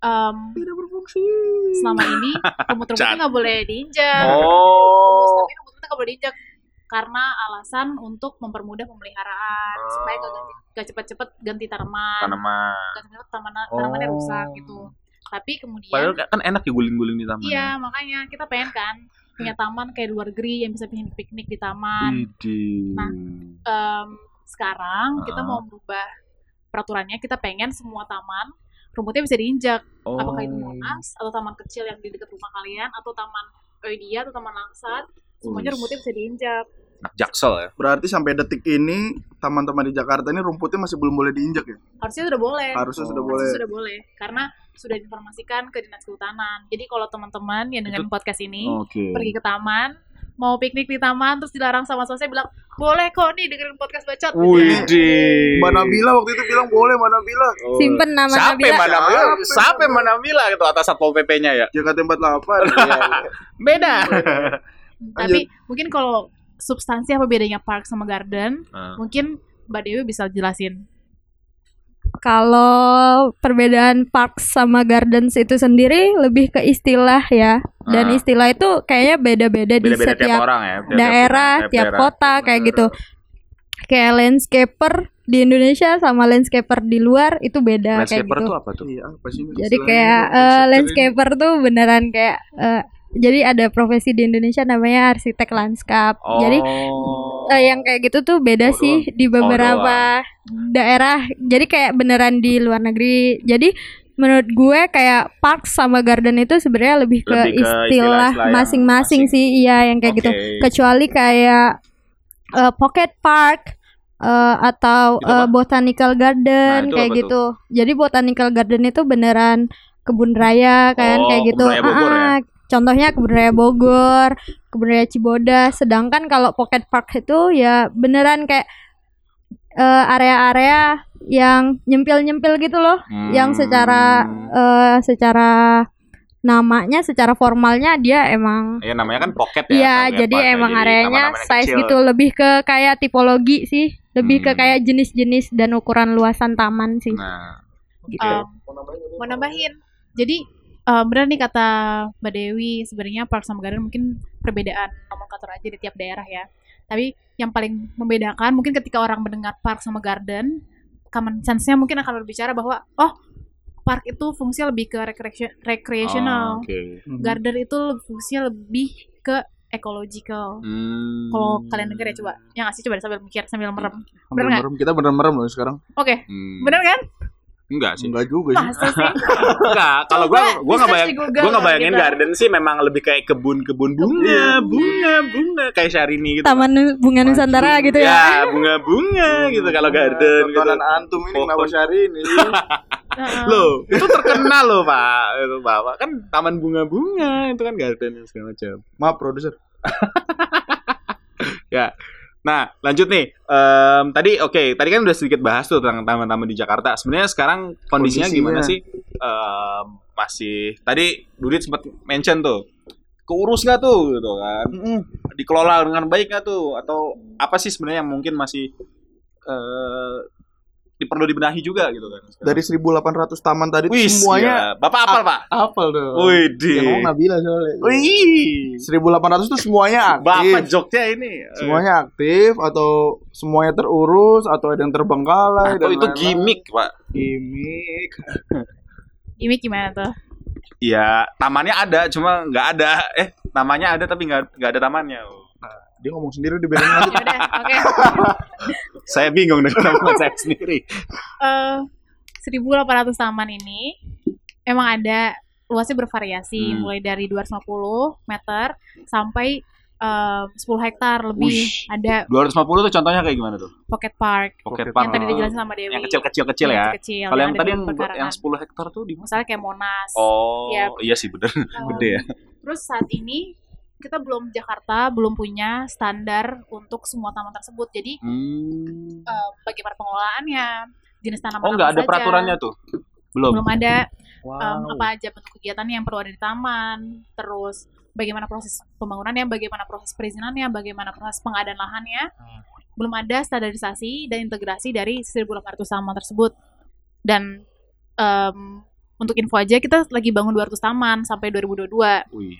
[SPEAKER 2] em,
[SPEAKER 9] Tidak berfungsi.
[SPEAKER 2] selama ini rumput-rumputnya nggak boleh diinjak.
[SPEAKER 4] oh
[SPEAKER 2] Tapi rumput-rumputnya nggak boleh diinjak karena alasan untuk mempermudah pemeliharaan supaya nggak ganti- nggak cepet-cepet ganti tanaman,
[SPEAKER 4] tanaman
[SPEAKER 2] nggak cepet-cepet tanaman tanamannya
[SPEAKER 4] Oh.
[SPEAKER 2] rusak gitu. Tapi kemudian
[SPEAKER 4] padahal kan enak diguling-guling di taman ya.
[SPEAKER 2] Iya, makanya kita pengen kan punya
[SPEAKER 4] Hmm.
[SPEAKER 2] taman kayak di luar negeri yang bisa bikin piknik di taman.
[SPEAKER 4] Widih.
[SPEAKER 2] Nah. Em, sekarang kita
[SPEAKER 4] Ah.
[SPEAKER 2] mau merubah peraturannya, kita pengen semua taman rumputnya bisa diinjak.
[SPEAKER 4] Oh.
[SPEAKER 2] Apakah itu Monas atau taman kecil yang di dekat rumah kalian atau taman Oidia atau taman Langsat, semuanya
[SPEAKER 4] Wih,
[SPEAKER 2] rumputnya bisa diinjak.
[SPEAKER 4] anak jaksel ya
[SPEAKER 9] Berarti sampai detik ini taman-taman di Jakarta ini rumputnya masih belum boleh diinjak ya?
[SPEAKER 2] Harusnya sudah boleh.
[SPEAKER 9] Harusnya sudah
[SPEAKER 2] Harusnya
[SPEAKER 9] boleh.
[SPEAKER 2] sudah boleh karena sudah diinformasikan ke Dinas Kehutanan. Jadi kalau teman-teman yang dengan podcast ini
[SPEAKER 4] oke
[SPEAKER 2] pergi ke taman mau piknik di taman terus dilarang sama saya bilang boleh kok nih dengerin podcast bacot gitu ya.
[SPEAKER 4] Widih.
[SPEAKER 9] Iya. Mbak Nabila waktu itu bilang boleh Mbak Nabila.
[SPEAKER 4] Oh.
[SPEAKER 10] Simpen nama
[SPEAKER 4] Sampai
[SPEAKER 10] Nabila.
[SPEAKER 4] mana Mila?
[SPEAKER 9] Sampai
[SPEAKER 4] Sampai mana Mila itu gitu, atas satpol pp-nya ya?
[SPEAKER 9] Jakarta 48. Iya.
[SPEAKER 4] Beda.
[SPEAKER 2] tapi mungkin kalau substansi apa bedanya park sama garden
[SPEAKER 4] Ah.
[SPEAKER 2] mungkin mbak Dewi bisa jelasin
[SPEAKER 10] Kalau perbedaan parks sama gardens itu sendiri lebih ke istilah ya. Dan
[SPEAKER 4] Ah.
[SPEAKER 10] istilah itu kayaknya beda-beda di
[SPEAKER 4] Beda-beda tiap
[SPEAKER 10] setiap
[SPEAKER 4] orang ya.
[SPEAKER 10] daerah, tiap kota kayak gitu. Kayak landscaper di Indonesia sama landscaper di luar itu beda kayak
[SPEAKER 4] Landscaper
[SPEAKER 10] gitu.
[SPEAKER 4] tuh apa tuh?
[SPEAKER 9] Iya, apa sih ini?
[SPEAKER 10] Jadi
[SPEAKER 9] Istilahnya
[SPEAKER 10] kayak
[SPEAKER 9] ini,
[SPEAKER 10] eh,
[SPEAKER 9] konsepnya ini.
[SPEAKER 10] landscaper tuh beneran kayak eh, jadi ada profesi di Indonesia namanya arsitek lanskap. Oh.
[SPEAKER 4] Oh,
[SPEAKER 10] Jadi eh, yang kayak gitu tuh beda
[SPEAKER 9] Oh,
[SPEAKER 10] sih di beberapa daerah. Jadi kayak beneran di luar negeri. Jadi menurut gue kayak park sama garden itu sebenarnya lebih ke
[SPEAKER 4] Lebih ke
[SPEAKER 10] istilah
[SPEAKER 4] istilah-istilah yang
[SPEAKER 10] masing-masing
[SPEAKER 4] masing.
[SPEAKER 10] sih. Iya, yang kayak gitu. Kecuali kayak eh, pocket park eh, atau
[SPEAKER 4] Itu apa?
[SPEAKER 10] eh, botanical
[SPEAKER 4] Nah,
[SPEAKER 10] garden
[SPEAKER 4] itu
[SPEAKER 10] kayak
[SPEAKER 4] apa
[SPEAKER 10] gitu. Jadi botanical garden itu beneran kebun raya
[SPEAKER 4] Oh,
[SPEAKER 10] kan kayak
[SPEAKER 4] kebun
[SPEAKER 10] gitu.
[SPEAKER 4] raya Bogor ya?
[SPEAKER 10] Ah, Contohnya kebun raya Bogor, kebun raya Cibodas. Sedangkan kalau pocket park itu ya beneran kayak eh, area-area yang nyempil-nyempil gitu loh,
[SPEAKER 4] Hmm.
[SPEAKER 10] yang secara eh, secara namanya, secara formalnya dia emang
[SPEAKER 4] ya namanya kan pocket ya.
[SPEAKER 10] Iya,
[SPEAKER 4] kalau
[SPEAKER 10] jadi
[SPEAKER 4] lihat
[SPEAKER 10] emang
[SPEAKER 4] warna. Jadi
[SPEAKER 10] areanya
[SPEAKER 4] taman-taman yang
[SPEAKER 10] size
[SPEAKER 4] kecil.
[SPEAKER 10] gitu lebih ke kayak tipologi sih, lebih ke
[SPEAKER 4] Hmm.
[SPEAKER 10] kayak jenis-jenis dan ukuran luasan taman sih
[SPEAKER 4] Nah,
[SPEAKER 10] gitu.
[SPEAKER 2] Um, mau nambahin. Jadi um, benar nih kata Mbak Dewi sebenarnya park sama garden mungkin perbedaan nomenklatur aja di tiap daerah ya. Tapi yang paling membedakan mungkin ketika orang mendengar park sama garden, common sense-nya mungkin akan berbicara bahwa oh park itu fungsinya lebih ke recreation- recreational,
[SPEAKER 4] Oh, Oke.
[SPEAKER 9] Hmm,
[SPEAKER 2] garden itu fungsinya lebih ke ecological.
[SPEAKER 4] Hmm.
[SPEAKER 2] Kalau kalian denger ya coba, yang ngasih coba sambil mikir sambil merem.
[SPEAKER 9] Hampir
[SPEAKER 2] Bener nggak?
[SPEAKER 9] merem. Kita bener merem loh sekarang.
[SPEAKER 2] Oke,
[SPEAKER 4] Hmm.
[SPEAKER 2] bener kan?
[SPEAKER 4] Enggak sih.
[SPEAKER 9] Enggak juga sih.
[SPEAKER 2] Masa sih?
[SPEAKER 4] Enggak, Iya. kalau gua
[SPEAKER 2] Coba
[SPEAKER 4] gua enggak
[SPEAKER 2] research
[SPEAKER 4] bayang
[SPEAKER 2] di Google
[SPEAKER 4] gua enggak
[SPEAKER 2] kalau
[SPEAKER 4] bayangin
[SPEAKER 2] gitu.
[SPEAKER 4] garden sih memang lebih kayak kebun-kebun bunga, bunga, bunga kayak Syahrini gitu.
[SPEAKER 10] Taman nu- bunga Nusantara gitu ya.
[SPEAKER 4] Ya, bunga-bunga gitu kalau garden gitu.
[SPEAKER 9] Nah, Tontonan antum ini
[SPEAKER 4] Pohon.
[SPEAKER 9] kenapa syari ini?
[SPEAKER 2] Heeh.
[SPEAKER 4] Loh, itu terkenal loh, Pak. Itu Bapak kan taman bunga-bunga itu kan garden dan segala macam.
[SPEAKER 9] Maaf produser.
[SPEAKER 4] Nah, lanjut nih. Em, tadi oke, tadi kan udah sedikit bahas tuh tentang taman-taman di Jakarta. Sebenarnya sekarang kondisinya,
[SPEAKER 9] Kondisinya.
[SPEAKER 4] gimana sih? Em, masih tadi Dudit sempat mention tuh. Keurus nggak tuh gitu kan? Dikelola dengan baik nggak tuh atau apa sih sebenarnya yang mungkin masih eh di- perlu dibenahi juga gitu kan?
[SPEAKER 9] Dari 1800 taman tadi tuh
[SPEAKER 4] Wis,
[SPEAKER 9] semuanya
[SPEAKER 4] gila. Bapak apal, Pak?
[SPEAKER 9] apel tuh.
[SPEAKER 4] Wih,
[SPEAKER 9] Ya, kamu nggak bilang soalnya.
[SPEAKER 4] Wih.
[SPEAKER 9] 1800 tuh semuanya aktif.
[SPEAKER 4] Bapak joknya ini. eh,
[SPEAKER 9] Iya. Semuanya aktif atau semuanya terurus atau ada yang terbengkalai
[SPEAKER 4] atau
[SPEAKER 9] dan
[SPEAKER 4] itu
[SPEAKER 9] lain-lain.
[SPEAKER 4] gimmick, Pak?
[SPEAKER 9] Gimmick.
[SPEAKER 2] Ini gimana tuh?
[SPEAKER 4] Iya, tamannya ada, cuma nggak ada. Eh, namanya ada tapi nggak nggak ada tamannya.
[SPEAKER 9] Dia ngomong sendiri di
[SPEAKER 2] Ya
[SPEAKER 9] belakang
[SPEAKER 2] udah, oke.
[SPEAKER 4] Saya bingung dengan nama saya sendiri.
[SPEAKER 2] eh 1.800 taman ini emang ada luasnya bervariasi
[SPEAKER 4] Hmm.
[SPEAKER 2] mulai dari 250 meter sampai em, 10 hektar lebih
[SPEAKER 4] Wush.
[SPEAKER 2] ada
[SPEAKER 4] 250 tuh contohnya kayak gimana tuh?
[SPEAKER 2] pocket park
[SPEAKER 4] Pocket
[SPEAKER 2] yang
[SPEAKER 4] park.
[SPEAKER 2] tadi dijelasin sama Dewi
[SPEAKER 4] Oh. Yang kecil-kecil kecil
[SPEAKER 2] Yang
[SPEAKER 4] ya.
[SPEAKER 2] kecil-kecil,
[SPEAKER 4] Kalau yang
[SPEAKER 2] ada
[SPEAKER 4] tadi
[SPEAKER 2] di
[SPEAKER 4] yang buat- yang
[SPEAKER 2] perkarangan.
[SPEAKER 4] 10 hektar tuh di mana?
[SPEAKER 2] misalnya kayak Monas
[SPEAKER 4] Oh,
[SPEAKER 2] Iya.
[SPEAKER 4] iya sih bener.
[SPEAKER 2] Em,
[SPEAKER 4] Gede ya.
[SPEAKER 2] terus saat ini kita belum Jakarta belum punya standar untuk semua taman tersebut jadi eh,
[SPEAKER 4] Hmm.
[SPEAKER 2] em, bagaimana pengelolaannya jenis tanaman
[SPEAKER 4] Oh, nggak
[SPEAKER 2] apa
[SPEAKER 4] ada
[SPEAKER 2] saja.
[SPEAKER 4] peraturannya tuh. Belum.
[SPEAKER 2] belum ada em, apa aja bentuk kegiatannya yang perlu ada di taman, terus bagaimana proses pembangunannya, bagaimana proses perizinannya, bagaimana proses pengadaan lahannya.
[SPEAKER 4] Hmm.
[SPEAKER 2] Belum ada standarisasi dan integrasi dari 1.800 taman tersebut. Dan em, untuk info aja kita lagi bangun 200 taman sampai 2022.
[SPEAKER 4] Wih.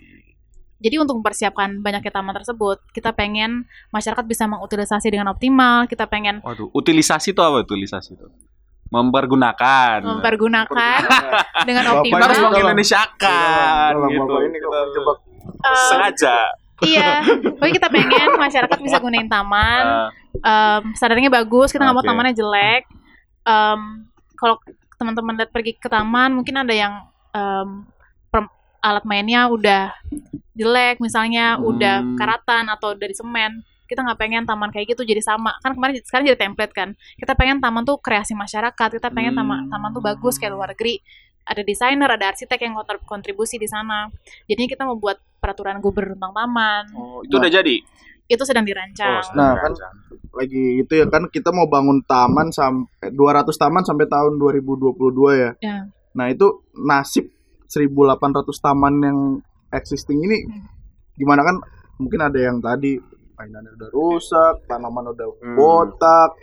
[SPEAKER 2] Jadi untuk mempersiapkan banyaknya taman tersebut, kita pengen masyarakat bisa mengutilisasi dengan optimal, kita pengen
[SPEAKER 4] Waduh, utilisasi tuh apa utilisasi tuh? Mempergunakan.
[SPEAKER 2] mempergunakan dengan
[SPEAKER 4] Kita
[SPEAKER 9] Bapak
[SPEAKER 2] optimal. Eh,
[SPEAKER 4] harus
[SPEAKER 9] Tolong.
[SPEAKER 4] mengindonesiakan
[SPEAKER 9] Iya,
[SPEAKER 4] gitu.
[SPEAKER 9] Bapak ini kalau menjebak
[SPEAKER 2] Em,
[SPEAKER 4] Sengaja.
[SPEAKER 2] iya, pokoknya kita pengen masyarakat bisa gunain taman,
[SPEAKER 4] Eh,
[SPEAKER 2] um, sadarnya bagus kita nggak mau
[SPEAKER 4] Oke.
[SPEAKER 2] tamannya jelek um, kalau teman-teman lihat pergi ke taman mungkin ada yang um, per- alat mainnya udah jelek misalnya
[SPEAKER 4] Hmm.
[SPEAKER 2] udah karatan atau dari semen kita nggak pengen taman kayak gitu jadi sama kan kemarin sekarang jadi template kan kita pengen taman tuh kreasi masyarakat kita pengen taman
[SPEAKER 4] Hmm.
[SPEAKER 2] taman tuh bagus kayak luar negeri ada desainer ada arsitek yang kontrib- kontribusi di sana jadinya kita membuat peraturan gubernur tentang taman
[SPEAKER 4] oh, itu
[SPEAKER 2] Nah.
[SPEAKER 4] udah jadi. Oh,
[SPEAKER 2] itu sedang dirancang
[SPEAKER 9] Nah, kan lagi gitu ya kan kita mau bangun taman sampai 200 taman sampai tahun 2022 ya.
[SPEAKER 2] Ya.
[SPEAKER 9] Nah, itu nasib 1800 taman yang existing ini
[SPEAKER 2] Hmm.
[SPEAKER 9] gimana kan mungkin ada yang tadi mainannya udah rusak, tanaman udah
[SPEAKER 4] Hmm.
[SPEAKER 9] botak,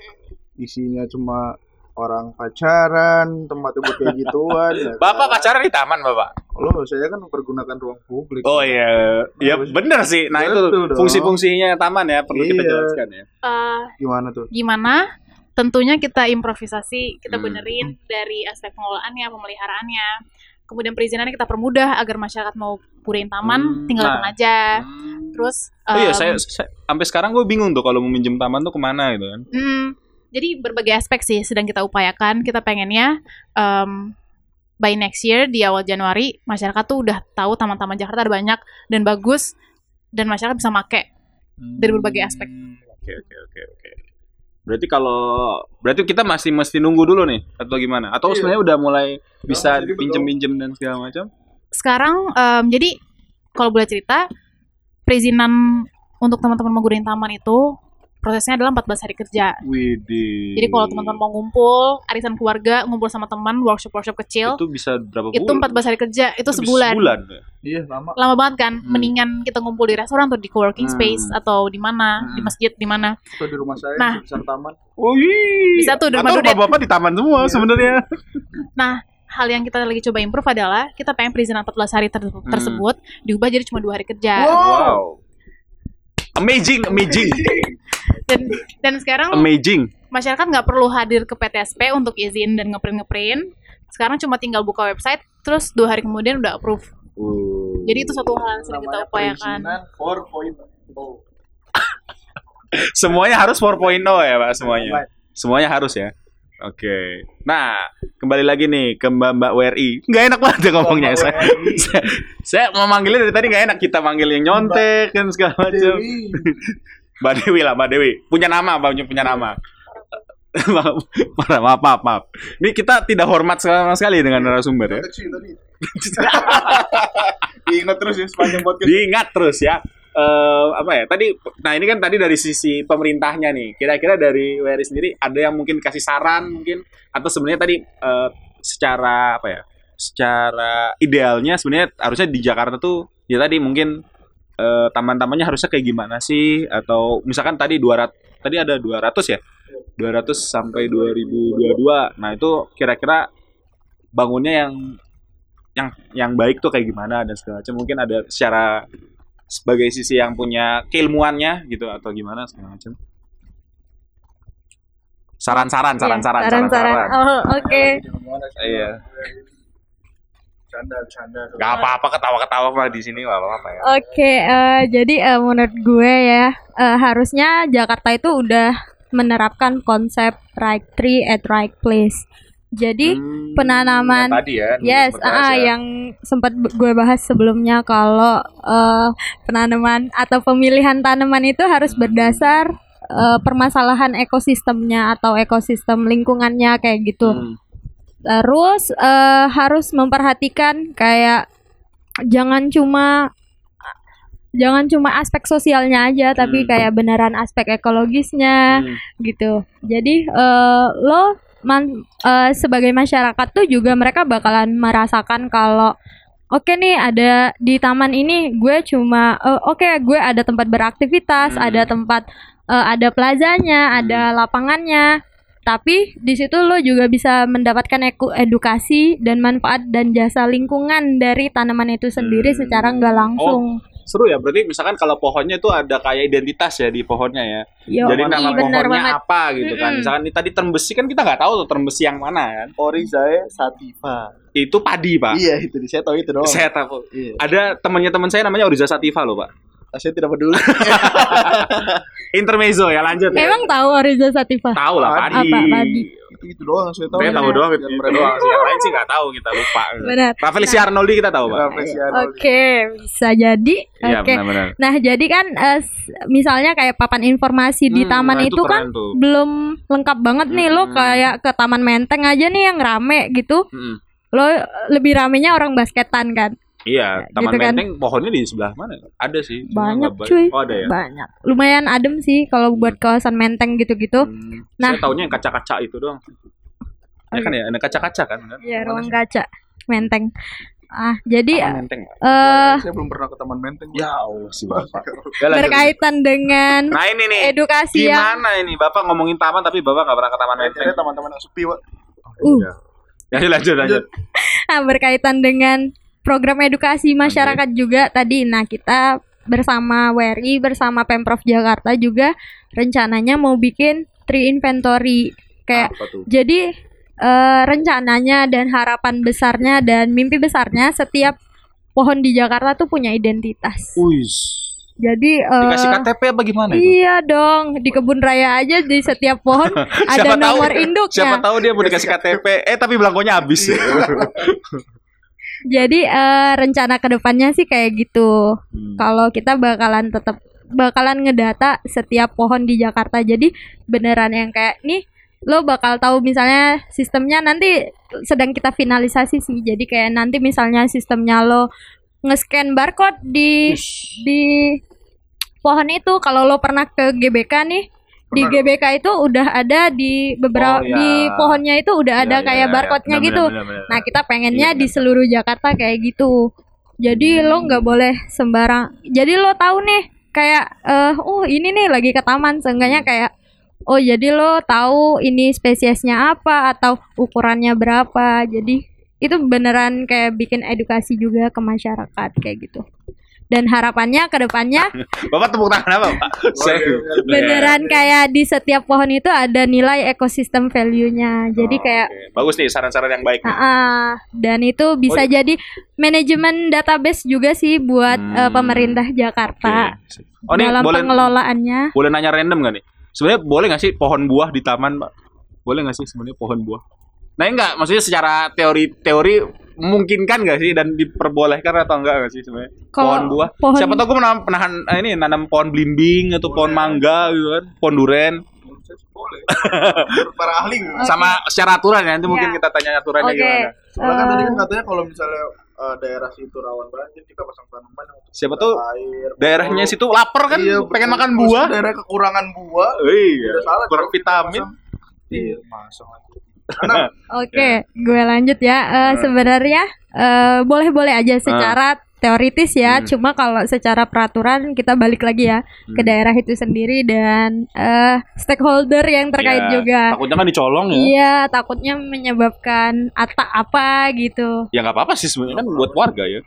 [SPEAKER 9] isinya cuma orang pacaran, tempatnya buat kayak gituan ya.
[SPEAKER 4] Bapak
[SPEAKER 9] kan?
[SPEAKER 4] pacaran di taman, Bapak.
[SPEAKER 9] Loh, saya kan mempergunakan ruang publik.
[SPEAKER 4] Oh iya, ya bener sih. Nah itu
[SPEAKER 9] Betul dong.
[SPEAKER 4] fungsi-fungsinya taman ya perlu kita
[SPEAKER 9] Iya.
[SPEAKER 4] jelaskan ya.
[SPEAKER 2] Eh,
[SPEAKER 9] Gimana tuh?
[SPEAKER 2] gimana tentunya kita improvisasi kita
[SPEAKER 4] Hmm.
[SPEAKER 2] benerin dari aspek pengelolaannya pemeliharaannya kemudian perizinannya kita permudah agar masyarakat mau puriin taman
[SPEAKER 4] Hmm,
[SPEAKER 2] tinggal
[SPEAKER 4] nah.
[SPEAKER 2] datang aja Eh, terus
[SPEAKER 4] Oh iya,
[SPEAKER 2] em,
[SPEAKER 4] saya, saya- sampai sekarang gue bingung tuh kalau mau minjem taman tuh kemana gitu kan.
[SPEAKER 2] hmm, jadi berbagai aspek sih sedang kita upayakan kita pengennya em, by next year di awal Januari masyarakat tuh udah tahu taman-taman Jakarta ada banyak dan bagus dan masyarakat bisa make dari berbagai aspek
[SPEAKER 4] Oke oke oke oke. Berarti kalau berarti kita masih mesti nunggu dulu nih atau gimana? Atau
[SPEAKER 9] Iya.
[SPEAKER 4] sebenarnya udah mulai bisa
[SPEAKER 9] jadi betul.
[SPEAKER 4] pinjem-pinjem dan segala macam?
[SPEAKER 2] sekarang em, jadi kalau boleh cerita perizinan untuk teman-teman menggunakan taman itu prosesnya adalah 14 hari kerja.
[SPEAKER 4] Widih.
[SPEAKER 2] Jadi kalau teman-teman mau ngumpul, arisan keluarga, ngumpul sama teman, workshop-workshop kecil,
[SPEAKER 4] itu bisa berapa
[SPEAKER 2] itu,
[SPEAKER 4] bulan?
[SPEAKER 2] 14 hari kerja, itu,
[SPEAKER 4] bisa
[SPEAKER 2] sebulan.
[SPEAKER 4] Sebulan. ya?
[SPEAKER 9] Iya, lama.
[SPEAKER 2] Lama banget kan?
[SPEAKER 4] Hmm.
[SPEAKER 2] Mendingan kita ngumpul di restoran atau di coworking
[SPEAKER 4] Hmm.
[SPEAKER 2] space atau di mana, di masjid, di mana.
[SPEAKER 9] Itu di rumah saya
[SPEAKER 2] Nah.
[SPEAKER 9] di besar taman.
[SPEAKER 4] Wih.
[SPEAKER 2] Bisa tuh di rumah
[SPEAKER 4] Oh, iya. Atau
[SPEAKER 2] Dudet.
[SPEAKER 4] bapak-bapak di taman semua
[SPEAKER 2] Iya.
[SPEAKER 4] sebenarnya.
[SPEAKER 2] Hal yang kita lagi coba improve adalah kita pengen perizinan 14 hari ter- tersebut diubah jadi cuma dua hari kerja.
[SPEAKER 4] Hmm. Wow. Amazing, amazing,
[SPEAKER 2] Dan dan sekarang
[SPEAKER 4] amazing.
[SPEAKER 2] masyarakat nggak perlu hadir ke PTSP untuk izin dan ngeprint ngeprint. Sekarang cuma tinggal buka website, terus dua hari kemudian udah approve. Jadi itu satu hal yang sering kita
[SPEAKER 9] Namanya
[SPEAKER 2] upayakan.
[SPEAKER 9] perizinan 4.0.
[SPEAKER 4] Uh, Semuanya harus 4.0 ya, Pak, semuanya.
[SPEAKER 9] Baik.
[SPEAKER 4] Semuanya harus ya. Oke. Nah, kembali lagi nih ke Mbak Mbak WRI. Nggak enak banget ya ngomongnya.
[SPEAKER 9] Mbak
[SPEAKER 4] Saya, saya, saya mau manggilnya dari tadi nggak enak. Kita manggil yang nyontek kan segala macam.
[SPEAKER 9] Dewi.
[SPEAKER 4] Mbak Dewi lah, Mbak Dewi. Punya nama, Mbak punya, punya nama. maaf, maaf, maaf, maaf, maaf. Ini kita tidak hormat sama sekali dengan narasumber ya.
[SPEAKER 9] Deteksi tadi. Diingat terus ya sepanjang podcast.
[SPEAKER 4] Diingat terus ya. Eh, apa ya tadi nah ini kan tadi dari sisi pemerintahnya nih kira-kira dari WRI sendiri ada yang mungkin kasih saran mungkin atau sebenarnya tadi eh, secara apa ya secara idealnya sebenarnya harusnya di Jakarta tuh ya tadi mungkin eh, taman-tamannya harusnya kayak gimana sih atau misalkan tadi 200 tadi ada 200 ya 200 sampai 2022 nah itu kira-kira bangunnya yang yang yang baik tuh kayak gimana dan segala macam mungkin ada secara sebagai sisi yang punya keilmuannya gitu atau gimana segala macam saran-saran saran-saran
[SPEAKER 10] Iya, saran-saran. Oh, oke.
[SPEAKER 4] iya
[SPEAKER 9] Canda, canda.
[SPEAKER 4] Gak apa-apa ketawa-ketawa mah di sini gak apa-apa ya.
[SPEAKER 10] Oke, eh, jadi eh, menurut gue ya eh, harusnya Jakarta itu udah menerapkan konsep right tree at right place. Jadi
[SPEAKER 4] Hmm,
[SPEAKER 10] penanaman-
[SPEAKER 4] yang tadi ya.
[SPEAKER 10] Yes, ah, yang sempat b- gue bahas sebelumnya kalau eh, penanaman atau pemilihan tanaman itu harus berdasar eh, permasalahan ekosistemnya atau ekosistem lingkungannya kayak gitu. Terus eh, harus memperhatikan kayak jangan cuma jangan cuma aspek sosialnya aja tapi
[SPEAKER 4] Hmm.
[SPEAKER 10] kayak beneran aspek ekologisnya gitu. Jadi eh, lo man- eh, sebagai masyarakat tuh juga mereka bakalan merasakan kalau Oke nih ada di taman ini gue cuma eh, oke gue ada tempat beraktivitas,
[SPEAKER 4] Hmm.
[SPEAKER 10] ada tempat eh, ada plazanya, ada lapangannya. Tapi di situ lo juga bisa mendapatkan eku- edukasi dan manfaat dan jasa lingkungan dari tanaman itu sendiri
[SPEAKER 4] Hmm.
[SPEAKER 10] secara nggak langsung.
[SPEAKER 4] Seru ya, berarti misalkan kalau pohonnya itu ada kayak identitas ya di pohonnya ya.
[SPEAKER 10] Yo,
[SPEAKER 4] Jadi
[SPEAKER 10] i,
[SPEAKER 4] nama
[SPEAKER 10] bener
[SPEAKER 4] pohonnya
[SPEAKER 10] Iya, banget.
[SPEAKER 4] apa gitu kan.
[SPEAKER 10] Mm-mm.
[SPEAKER 4] Misalkan ini tadi termbesi kan kita nggak tahu tuh termbesi yang mana kan.
[SPEAKER 9] Ori saya Sativa.
[SPEAKER 4] Itu padi, Pak.
[SPEAKER 9] Iya itu, saya tahu itu doang.
[SPEAKER 4] Saya tahu.
[SPEAKER 9] Iya. Ah,
[SPEAKER 4] Ada temannya teman saya namanya Oriza Sativa loh, Pak.
[SPEAKER 9] Saya tidak peduli.
[SPEAKER 4] Intermezzo ya lanjut. ya.
[SPEAKER 10] Emang tahu Oriza Sativa?
[SPEAKER 4] tahu lah padi.
[SPEAKER 10] Apa, padi?
[SPEAKER 9] itu itu doang saya tahu.
[SPEAKER 4] Saya tahu doang itu
[SPEAKER 9] Yang
[SPEAKER 4] doang. sih. Yang lain sih nggak tahu kita lupa.
[SPEAKER 10] Benar. Iya.
[SPEAKER 4] Rafael si Arnoldi kita tahu, Pak.
[SPEAKER 10] Oke, bisa jadi.
[SPEAKER 4] Iya,
[SPEAKER 10] Oke.
[SPEAKER 4] benar-benar.
[SPEAKER 10] Nah, jadi kan eh, s- misalnya kayak papan informasi di
[SPEAKER 4] Hmm,
[SPEAKER 10] taman
[SPEAKER 4] nah,
[SPEAKER 10] itu
[SPEAKER 4] keren
[SPEAKER 10] kan
[SPEAKER 4] tuh.
[SPEAKER 10] belum lengkap banget nih lo
[SPEAKER 4] Hmm.
[SPEAKER 10] kayak ke Taman Menteng aja nih yang rame gitu.
[SPEAKER 4] Mm-mm.
[SPEAKER 10] Lo eh, lebih ramenya orang basketan kan.
[SPEAKER 4] Iya, Taman
[SPEAKER 10] gitu kan.
[SPEAKER 4] Menteng pohonnya di sebelah mana? Ada sih. cuma
[SPEAKER 10] Banyak,
[SPEAKER 4] nggak ba-
[SPEAKER 10] cuy.
[SPEAKER 4] Oh, ada ya.
[SPEAKER 10] Banyak. Lumayan adem sih kalau buat kawasan Menteng gitu-gitu.
[SPEAKER 4] Hmm,
[SPEAKER 10] Nah.
[SPEAKER 4] Saya taunya yang kaca-kaca itu doang. Ya kan ya, ada kaca-kaca kan? kan?
[SPEAKER 10] Ya,
[SPEAKER 4] Mana
[SPEAKER 10] ruang
[SPEAKER 4] sih?
[SPEAKER 10] kaca Menteng. Ah, jadi
[SPEAKER 4] Taman
[SPEAKER 10] eh
[SPEAKER 4] Menteng. Pak.
[SPEAKER 9] Saya belum pernah ke Taman Menteng.
[SPEAKER 4] Ya Allah sih Bapak. Ya, lanjut.
[SPEAKER 10] berkaitan dengan
[SPEAKER 4] Nah ini nih,
[SPEAKER 10] edukasi ya. yang
[SPEAKER 4] gimana ini? Bapak ngomongin taman tapi Bapak nggak pernah ke Taman Menteng.
[SPEAKER 9] Akhirnya teman-teman yang sepi, Pak.
[SPEAKER 10] Uh.
[SPEAKER 4] Iya. Ya lanjut, lanjut.
[SPEAKER 10] Nah, berkaitan dengan program edukasi masyarakat juga tadi. Nah, kita bersama WRI, bersama Pemprov Jakarta juga rencananya mau bikin tree inventory. Kayak
[SPEAKER 4] Apa tuh?
[SPEAKER 10] jadi eh, rencananya dan harapan besarnya dan mimpi besarnya setiap pohon di Jakarta tuh punya identitas.
[SPEAKER 4] Uis.
[SPEAKER 10] Jadi eh,
[SPEAKER 4] Dikasih KTP apa gimana itu?
[SPEAKER 10] Iya dong, di kebun raya aja di setiap pohon ada
[SPEAKER 4] Siapa tahu- ya.
[SPEAKER 10] nomor induknya.
[SPEAKER 4] Siapa tahu dia mau dikasih KTP, eh tapi belangkonya habis.
[SPEAKER 10] Jadi eh, rencana kedepannya sih kayak gitu.
[SPEAKER 4] Hmm.
[SPEAKER 10] Kalau kita bakalan tetap bakalan ngedata setiap pohon di Jakarta. Jadi beneran yang kayak nih lo bakal tahu misalnya sistemnya nanti sedang kita finalisasi sih. Jadi kayak nanti misalnya sistemnya lo nge-scan barcode di di pohon itu kalau lo pernah ke GBK nih di GBK itu udah ada di beberapa
[SPEAKER 4] Oh, iya.
[SPEAKER 10] di pohonnya itu udah ada kayak barcode-nya gitu. Nah, kita pengennya di seluruh Jakarta kayak gitu. Jadi lo nggak boleh sembarang. Jadi lo tahu nih kayak eh oh ini nih lagi ke taman seenggaknya kayak oh jadi lo tahu ini spesiesnya apa atau ukurannya berapa. Jadi itu beneran kayak bikin edukasi juga ke masyarakat kayak gitu. Dan harapannya ke depannya
[SPEAKER 12] Bapak tepuk tangan apa, Pak? Saya
[SPEAKER 10] beneran kayak di setiap pohon itu ada nilai ekosistem value-nya. Jadi
[SPEAKER 4] Oh,
[SPEAKER 10] kayak
[SPEAKER 12] Oke, Bagus nih saran-saran yang baik. nih.
[SPEAKER 10] Ah, dan itu bisa
[SPEAKER 4] Oh,
[SPEAKER 10] jadi manajemen database juga sih buat
[SPEAKER 4] iya. Hmm.
[SPEAKER 10] eh, pemerintah Jakarta
[SPEAKER 12] Oke. Oh, nih
[SPEAKER 10] dalam
[SPEAKER 12] boleh
[SPEAKER 10] pengelolaannya.
[SPEAKER 12] boleh nanya random gak nih? Sebenarnya boleh gak sih pohon buah di taman, Pak? Boleh gak sih sebenarnya pohon buah?
[SPEAKER 4] Nah, enggak, maksudnya secara teori-teori memungkinkan gak sih dan diperbolehkan atau enggak gak sih sebenarnya?
[SPEAKER 10] Kalau
[SPEAKER 4] pohon buah.
[SPEAKER 10] pohon-
[SPEAKER 4] Siapa tahu gue menanam penahan eh, ini nanam pohon belimbing atau pohon mangga gitu kan, pohon duren.
[SPEAKER 9] Boleh. Para ahli.
[SPEAKER 4] Sama secara aturan ya, nanti mungkin
[SPEAKER 10] Iya.
[SPEAKER 4] kita tanya aturannya
[SPEAKER 10] Oke.
[SPEAKER 4] gimana.
[SPEAKER 9] Soalnya kan
[SPEAKER 10] Eh,
[SPEAKER 9] tadi kan katanya kalau misalnya eh, daerah situ rawan banjir kita pasang tanaman yang untuk
[SPEAKER 4] Siapa tuh
[SPEAKER 9] air.
[SPEAKER 4] daerahnya situ lapar kan,
[SPEAKER 9] Iya,
[SPEAKER 4] pengen
[SPEAKER 9] betul.
[SPEAKER 4] makan
[SPEAKER 9] Terus
[SPEAKER 4] buah.
[SPEAKER 9] Daerah kekurangan buah.
[SPEAKER 4] Iya,
[SPEAKER 9] Tidak salah,
[SPEAKER 4] kurang
[SPEAKER 9] dong, kita
[SPEAKER 4] vitamin.
[SPEAKER 9] pasang. Iya, masang lagi. Karena
[SPEAKER 10] Oke, gue lanjut ya. Eh,
[SPEAKER 4] Nah.
[SPEAKER 10] Sebenarnya eh, boleh-boleh aja
[SPEAKER 4] Ah.
[SPEAKER 10] secara teoritis ya.
[SPEAKER 4] Hmm.
[SPEAKER 10] Cuma kalau secara peraturan kita balik lagi ya ke
[SPEAKER 4] Hmm.
[SPEAKER 10] daerah itu sendiri dan eh, stakeholder yang terkait
[SPEAKER 4] Iya,
[SPEAKER 10] juga.
[SPEAKER 4] Takutnya kan dicolong ya.
[SPEAKER 10] Iya, takutnya menyebabkan atak apa gitu.
[SPEAKER 4] Ya nggak apa-apa sih sebenarnya kan buat warga ya.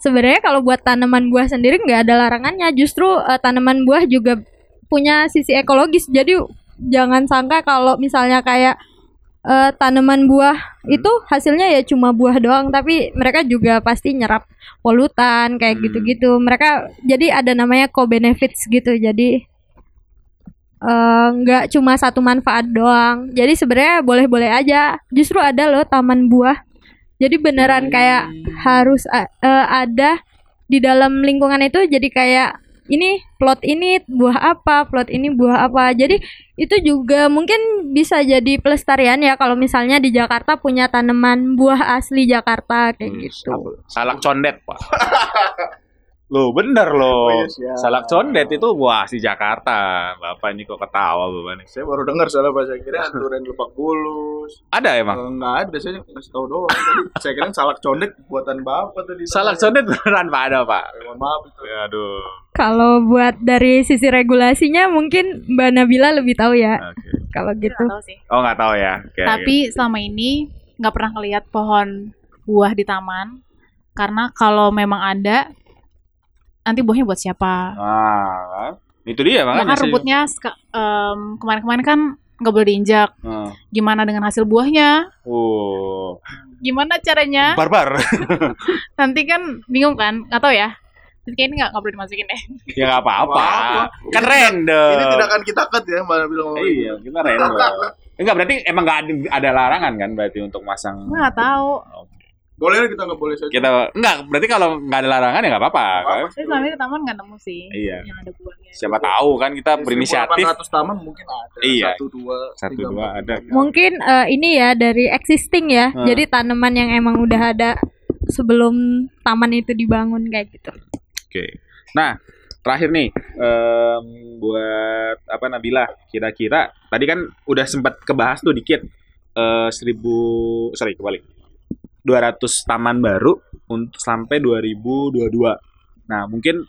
[SPEAKER 10] sebenarnya kalau buat tanaman buah sendiri nggak ada larangannya justru eh, tanaman buah juga punya sisi ekologis jadi jangan sangka kalau misalnya kayak eh, tanaman buah itu hasilnya ya cuma buah doang tapi mereka juga pasti nyerap polutan kayak gitu-gitu mereka jadi ada namanya co benefits gitu jadi eh, nggak cuma satu manfaat doang jadi sebenarnya boleh-boleh aja justru ada loh taman buah jadi beneran kayak harus a- eh, ada di dalam lingkungan itu jadi kayak ini plot ini buah apa, plot ini buah apa. Jadi itu juga mungkin bisa jadi pelestarian ya kalau misalnya di Jakarta punya tanaman buah asli Jakarta kayak gitu.
[SPEAKER 4] Salak condet, Pak. Loh, bener
[SPEAKER 9] Oh,
[SPEAKER 4] loh.
[SPEAKER 9] iya, siap.
[SPEAKER 4] Salak condet itu wah si Jakarta. Bapak ini kok ketawa Bapak ini.
[SPEAKER 9] saya baru dengar soalnya bahasa kira aturan lepak bulus.
[SPEAKER 4] Ada emang.
[SPEAKER 9] Eh, Nggak ada, saya ngasih tahu doang. Tadi saya kira salak condet buatan bapak tadi.
[SPEAKER 4] Salak condet beneran Pak ada, Pak.
[SPEAKER 9] Mohon maaf itu.
[SPEAKER 4] Ya, Aduh.
[SPEAKER 10] Kalau buat dari sisi regulasinya mungkin Mbak Nabila lebih tahu ya
[SPEAKER 4] Oke.
[SPEAKER 10] kalau gitu.
[SPEAKER 2] Nggak tahu sih.
[SPEAKER 4] Oh, nggak tahu ya. Oke,
[SPEAKER 2] Tapi selama ini nggak pernah lihat pohon buah di taman karena kalau memang ada nanti buahnya buat siapa?
[SPEAKER 4] oke. Ah, itu dia
[SPEAKER 2] Bahkan
[SPEAKER 4] makanya sih.
[SPEAKER 2] rumputnya seka- em, kemarin-kemarin kan nggak boleh diinjak.
[SPEAKER 4] Hmm.
[SPEAKER 2] Gimana dengan hasil buahnya?
[SPEAKER 4] Oh,
[SPEAKER 2] Gimana caranya?
[SPEAKER 4] barbar.
[SPEAKER 2] Nanti kan bingung kan? Nggak tahu ya. Jadi kayaknya nggak nggak perlu dimasukin deh.
[SPEAKER 4] ya nggak apa-apa.
[SPEAKER 9] Apa-apa.
[SPEAKER 4] Kan random.
[SPEAKER 9] Ini tidak akan kita cut ya, Mbak bilang ngomong.
[SPEAKER 4] Iya, kita random. Enggak berarti emang nggak ada, ada larangan kan berarti untuk masang.
[SPEAKER 2] Gue nggak tahu.
[SPEAKER 9] Boleh lah kita nggak boleh saja.
[SPEAKER 4] Kita enggak berarti kalau nggak ada larangan ya nggak apa-apa.
[SPEAKER 2] Tapi selama ini di taman nggak nemu sih
[SPEAKER 4] Iya.
[SPEAKER 2] yang ada buahnya.
[SPEAKER 4] Siapa tahu kan kita berinisiatif
[SPEAKER 9] 800 taman mungkin ada.
[SPEAKER 4] Iya.
[SPEAKER 9] Satu dua.
[SPEAKER 4] Satu,
[SPEAKER 9] tiga,
[SPEAKER 4] dua,
[SPEAKER 9] empat,
[SPEAKER 4] ada.
[SPEAKER 9] lima.
[SPEAKER 10] Mungkin eh, ini ya dari existing ya.
[SPEAKER 4] Hmm.
[SPEAKER 10] Jadi tanaman yang emang udah ada sebelum taman itu dibangun kayak gitu.
[SPEAKER 4] Oke. Nah, terakhir nih em, buat apa Nabila? Kira-kira tadi kan udah sempat kebahas tuh dikit eh, seribu sorry kebalik 200 taman baru untuk sampai 2022. Nah, mungkin